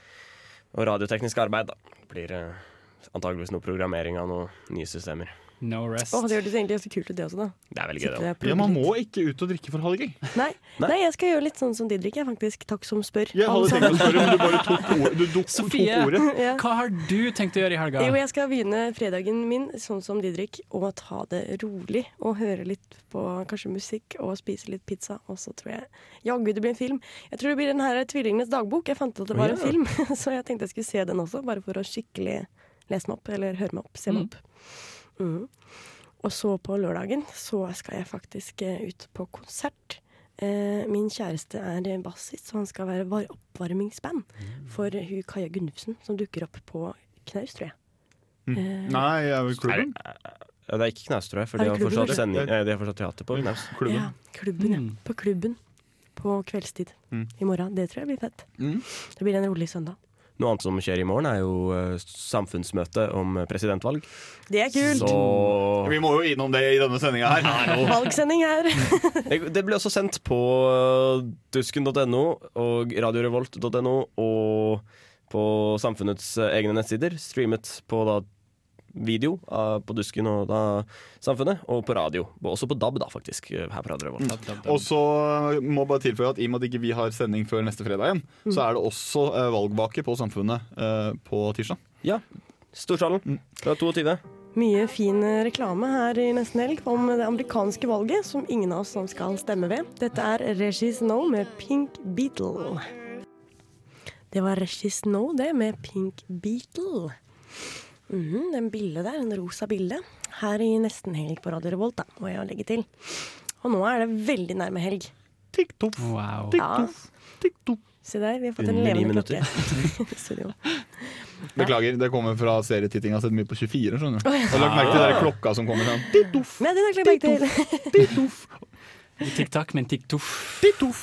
og radioteknisk arbeid, da. Blir eh, antageligvis noe programmering av noen nye systemer.
No rest.
det hørtes egentlig ganske kult ut, det også, da.
Det er veldig gøy, det
Sitte
også.
og Ja, man
må ikke ut og drikke for å ha det gøy.
Nei. Nei, jeg skal gjøre litt sånn som Didrik, jeg, faktisk. Takk som spør. Altså,
Jeg
Alle
hadde
sammen.
tenkt å spørre, men du bare tok ordet. Du dukket
Sofie,
tok ordet.
hva har du tenkt å gjøre i helga?
Jo, jeg skal begynne fredagen min sånn som Didrik, og ta det rolig. Og høre litt på kanskje musikk, og spise litt pizza. Og så tror jeg jaggu det blir en film. Jeg tror det blir den her Tvillingenes dagbok. Jeg fant ut at det
Å,
var
ja.
en film, så jeg tenkte jeg skulle se den også. Bare for å skikkelig lese meg opp, eller høre meg opp, se meg opp. Mm. Og så på lørdagen så skal jeg faktisk eh, ut på konsert. Eh, Min kjæreste er eh, bassist, så han skal være var- oppvarmingsband
Mm.
for eh, hun Kaja Gunnufsen, som dukker opp på Knaus, tror jeg.
Mm.
Eh,
Nei, jeg vil klubben.
Ja, det er ikke Knaus, tror jeg, for
Er
de
det
har,
klubben,
fortsatt
eller?
sending, eh, de har fortsatt teater på Knaus.
Ja, klubben, ja. På klubben på kveldstid
Mm.
i morgen. Det tror jeg blir fett. Det blir en rolig søndag.
Noe annet som skjer i morgen, er jo eh, samfunnsmøte om eh, presidentvalg.
Det er kult!
Så
Vi må jo innom det i denne sendinga her.
Valgsending her.
Det det ble også sendt på eh, dusken.no og radiorevolt.no og på samfunnets eh, egne nettsider. Streamet på da video av- på Dusken og da Samfunnet, og på radio. Også på DAB, da, faktisk, eh, her på Radio Revolt.
Og så eh, må jeg bare tilføye at i og med at ikke vi har sending før neste fredag igjen, så er det også eh, valgvake på Samfunnet eh, på tirsdag.
Ja. Storsalen fra 22.
Mye fin eh, reklame her i Nesten Helg om det amerikanske valget, som ingen av oss nå skal stemme ved. Dette er Regis Snow med Pink Beatle. Det var Regis Snow, det, med Pink Beatle. Mhm, den bildet der, en rosa bilde, her i Nesten Helg på Radio Revolt, da, må jeg legge til. Og nå er det veldig nærme helg.
TikTok.
Wow.
Ja. Se der, vi har fått en
Under ni
levende
minutter.
klokke. Studio.
Beklager, det kommer fra serietittinga sett mye på 24. skjønner du.
Å, ja.
Jeg har lagt merke til den der klokka som kommer sånn.
Nei, den har jeg ikke lagt merke til.
TikTok, men TikTok.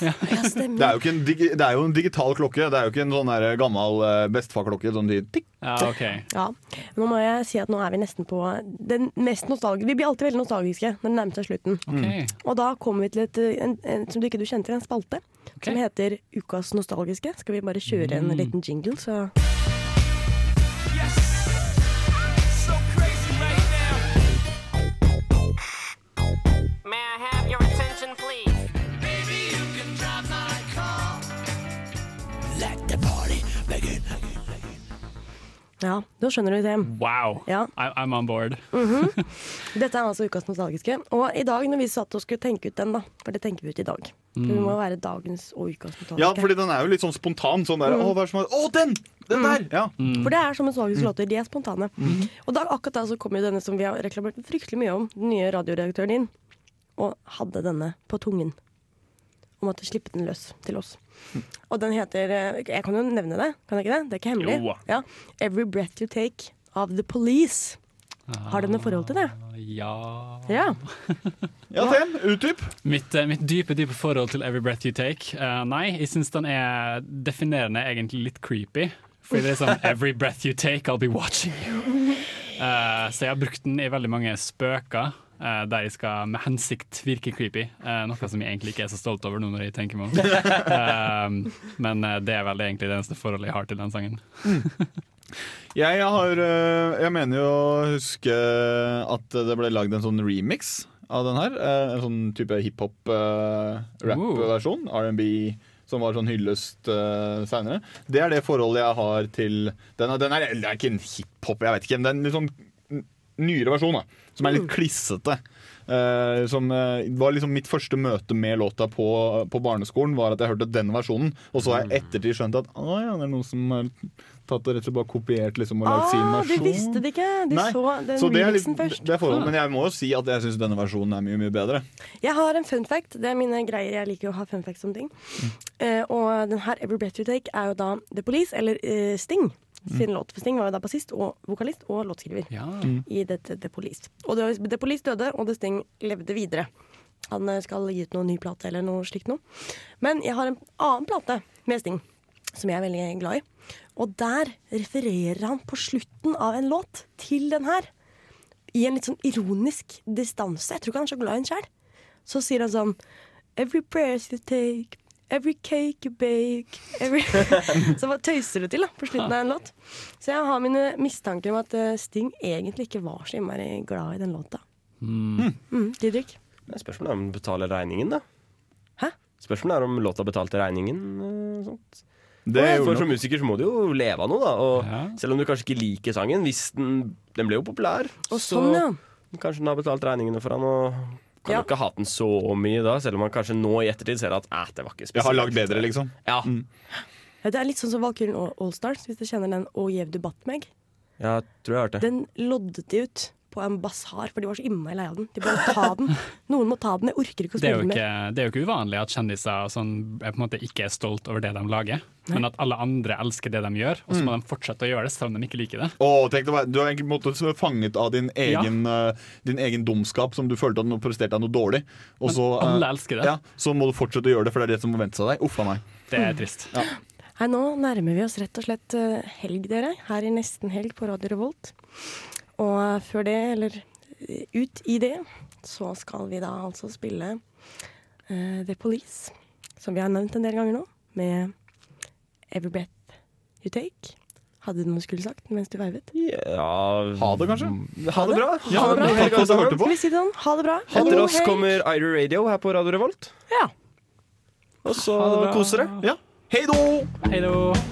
Ja.
Det er, jo ikke en digi det er jo en digital klokke. Det er jo ikke en sånn der gammel eh, bestefar-klokke. Sånn de- tikk.
Ja, Nå må jeg si at nå er vi nesten på den mest nostalgiske Vi blir alltid veldig nostalgiske når det nærmer seg slutten.
Mm.
Ok.
Og da kommer vi til et, en, en, som du ikke du kjente til, en spalte som heter Ukas nostalgiske. Skal vi bare kjøre en
Mm.
liten jingle, så
May I have your attention, please? Baby, you can drop my call. Let the party begin.
Ja, da skjønner du det.
Wow. I, I'm on board.
Mm. Mhm. Dette er altså Ukas nostalgiske. Og i dag når vi satt og skulle tenke ut den, da, for det tenker vi ut i dag, Det må være dagens og ukas spontane.
Ja, fordi den er jo litt sånn spontan. Sånn der,
Mm.
å, hva er det som er, å den! Den der! Ja.
For det er som en
Mm.
svakhets låter. De er spontane. Og da, akkurat da så kom jo denne som vi har reklamert fryktelig mye om, den nye radioredaktøren din, og hadde denne på tungen. Og måtte slippe den løs til oss.
Mm.
Og den heter eh, Jeg kan jo nevne det, kan jeg ikke det? Det er ikke
Jo.
hemmelig. Ja. Every Breath You Take av The Police. Har dere noe forhold til det?
Ah.
Ja
Ja.
Ja, Sten, utdyp.
Mitt, eh, mitt dype dype forhold til 'Every Breath You Take'. eh, nei, jeg syns den er definerende egentlig litt creepy. Fordi det er sånn 'Every breath you take, I'll be watching you'. Eh, så jeg har brukt den i veldig mange spøker. eh, der jeg skal med hensikt virke creepy. eh, noe som jeg egentlig ikke er så stolt over nå når jeg tenker meg om. Eh, men eh, det er vel egentlig det eneste forholdet jeg har til den sangen.
Jeg, har, øh, jeg mener jo å huske at det ble lagd en sånn remix av den her. eh, En sånn type eh, hiphop-rap-versjon. R&B som var sånn hyllest uh, seinere. Det er det forholdet jeg har til Den, er- den er, det er ikke en hiphop, jeg vet ikke. Men det er en litt sånn n- nyere versjon, da. Som er litt
Mm.
klissete. Eh, som eh, var liksom Mitt første møte med låta på, på barneskolen var at jeg hørte den versjonen. Og så har
Mm.
jeg ettertid skjønt at å, ja, det er noen som har tatt det rett og slett bare kopiert liksom, og lagd sin
Ah, du
versjon.
visste det ikke! Du
Nei,
så den
så det er litt-
remixen først.
Det er forhold,
Ah.
men jeg må jo si at jeg syns denne versjonen er mye mye bedre.
Jeg har en fun fact. Det er mine greier. Jeg liker jo å ha fun facts om ting. Eh, og den her, 'Every Breath You Take', er jo da The Police, eller eh, Sting. Sin låt for Sting var jo da bassist og vokalist og låtskriver
Mm.
i dette The Police. Og det, var- The Police døde, og The Sting levde videre. Han eh, skal gi ut noen ny plate eller noe slikt noe. Men jeg har en annen plate med Sting som jeg er veldig glad i. Og der refererer han på slutten av en låt til den her i en litt sånn ironisk distanse. Jeg tror ikke han er så glad i henne sjøl. Så sier han sånn Every breath you take, every cake you bake every... Så bare tøyser det til da, på slutten av en låt. Så jeg har mine mistanker om at eh, Sting egentlig ikke var så innmari glad i den låta.
Hmm.
Mm, Didrik?
Men Spørsmålet er om den betaler regningen, da.
Hæ?
Spørsmålet er om låta betalte regningen. eh, sånt.
Det
Og
gjorde
for
den.
Som musiker så må du jo leve av noe, da. Og Selv om du kanskje ikke liker sangen, hvis den, den ble jo populær,
sånn, ja.
kanskje den har betalt regningene for han. Og kan jo ikke ha den så mye da, selv om man kanskje nå i ettertid ser at eh, det var ikke spesielt.
Jeg har lagd bedre, liksom.
Ja.
Ja, Det er litt sånn som Valkyren All- Allstars, hvis du kjenner den Å jev du batt meg.
Jeg tror jeg hørte det.
Den loddet de ut på en basar, for de var så innmari lei av den. De bare ta den. Noen må ta den, jeg orker ikke å
Det
spille
er, jo
den
ikke,
mer.
det er jo ikke uvanlig at kjendiser og sånn, er på en måte ikke er stolt over det de lager,
Nei.
men at alle andre elsker det de gjør, og så må de fortsette å gjøre det selv om de ikke liker det.
Å, tenk deg, hva- du er egentlig på en måte så fanget av din egen, eh, din egen dumskap som du følte at du presterte noe dårlig. Og
Men
så, eh,
alle elsker det.
Ja, så må du fortsette å gjøre det, for det er det som forventes av deg. Uff a meg.
Det er trist.
Ja.
Hei, nå nærmer vi oss rett og slett eh, helg, dere. Her i Nesten helg på Radio Revolt. Og før det, eller eh, ut i det, så skal vi da altså spille eh, The Police, som vi har nevnt en del ganger nå, med Every Breath You Take. Hadde du noe du skulle sagt mens du veivet?
Ja, ha det, kanskje?
Mm.
Ha det bra.
Ha det bra.
Ha det bra.
Skal vi si det sånn? Ha det bra.
Etter
God
oss
helg.
kommer Ira Radio her på Radio Revolt.
Ja.
Og så
Ha det bra.
koser dere.
Hei då!
Hei då!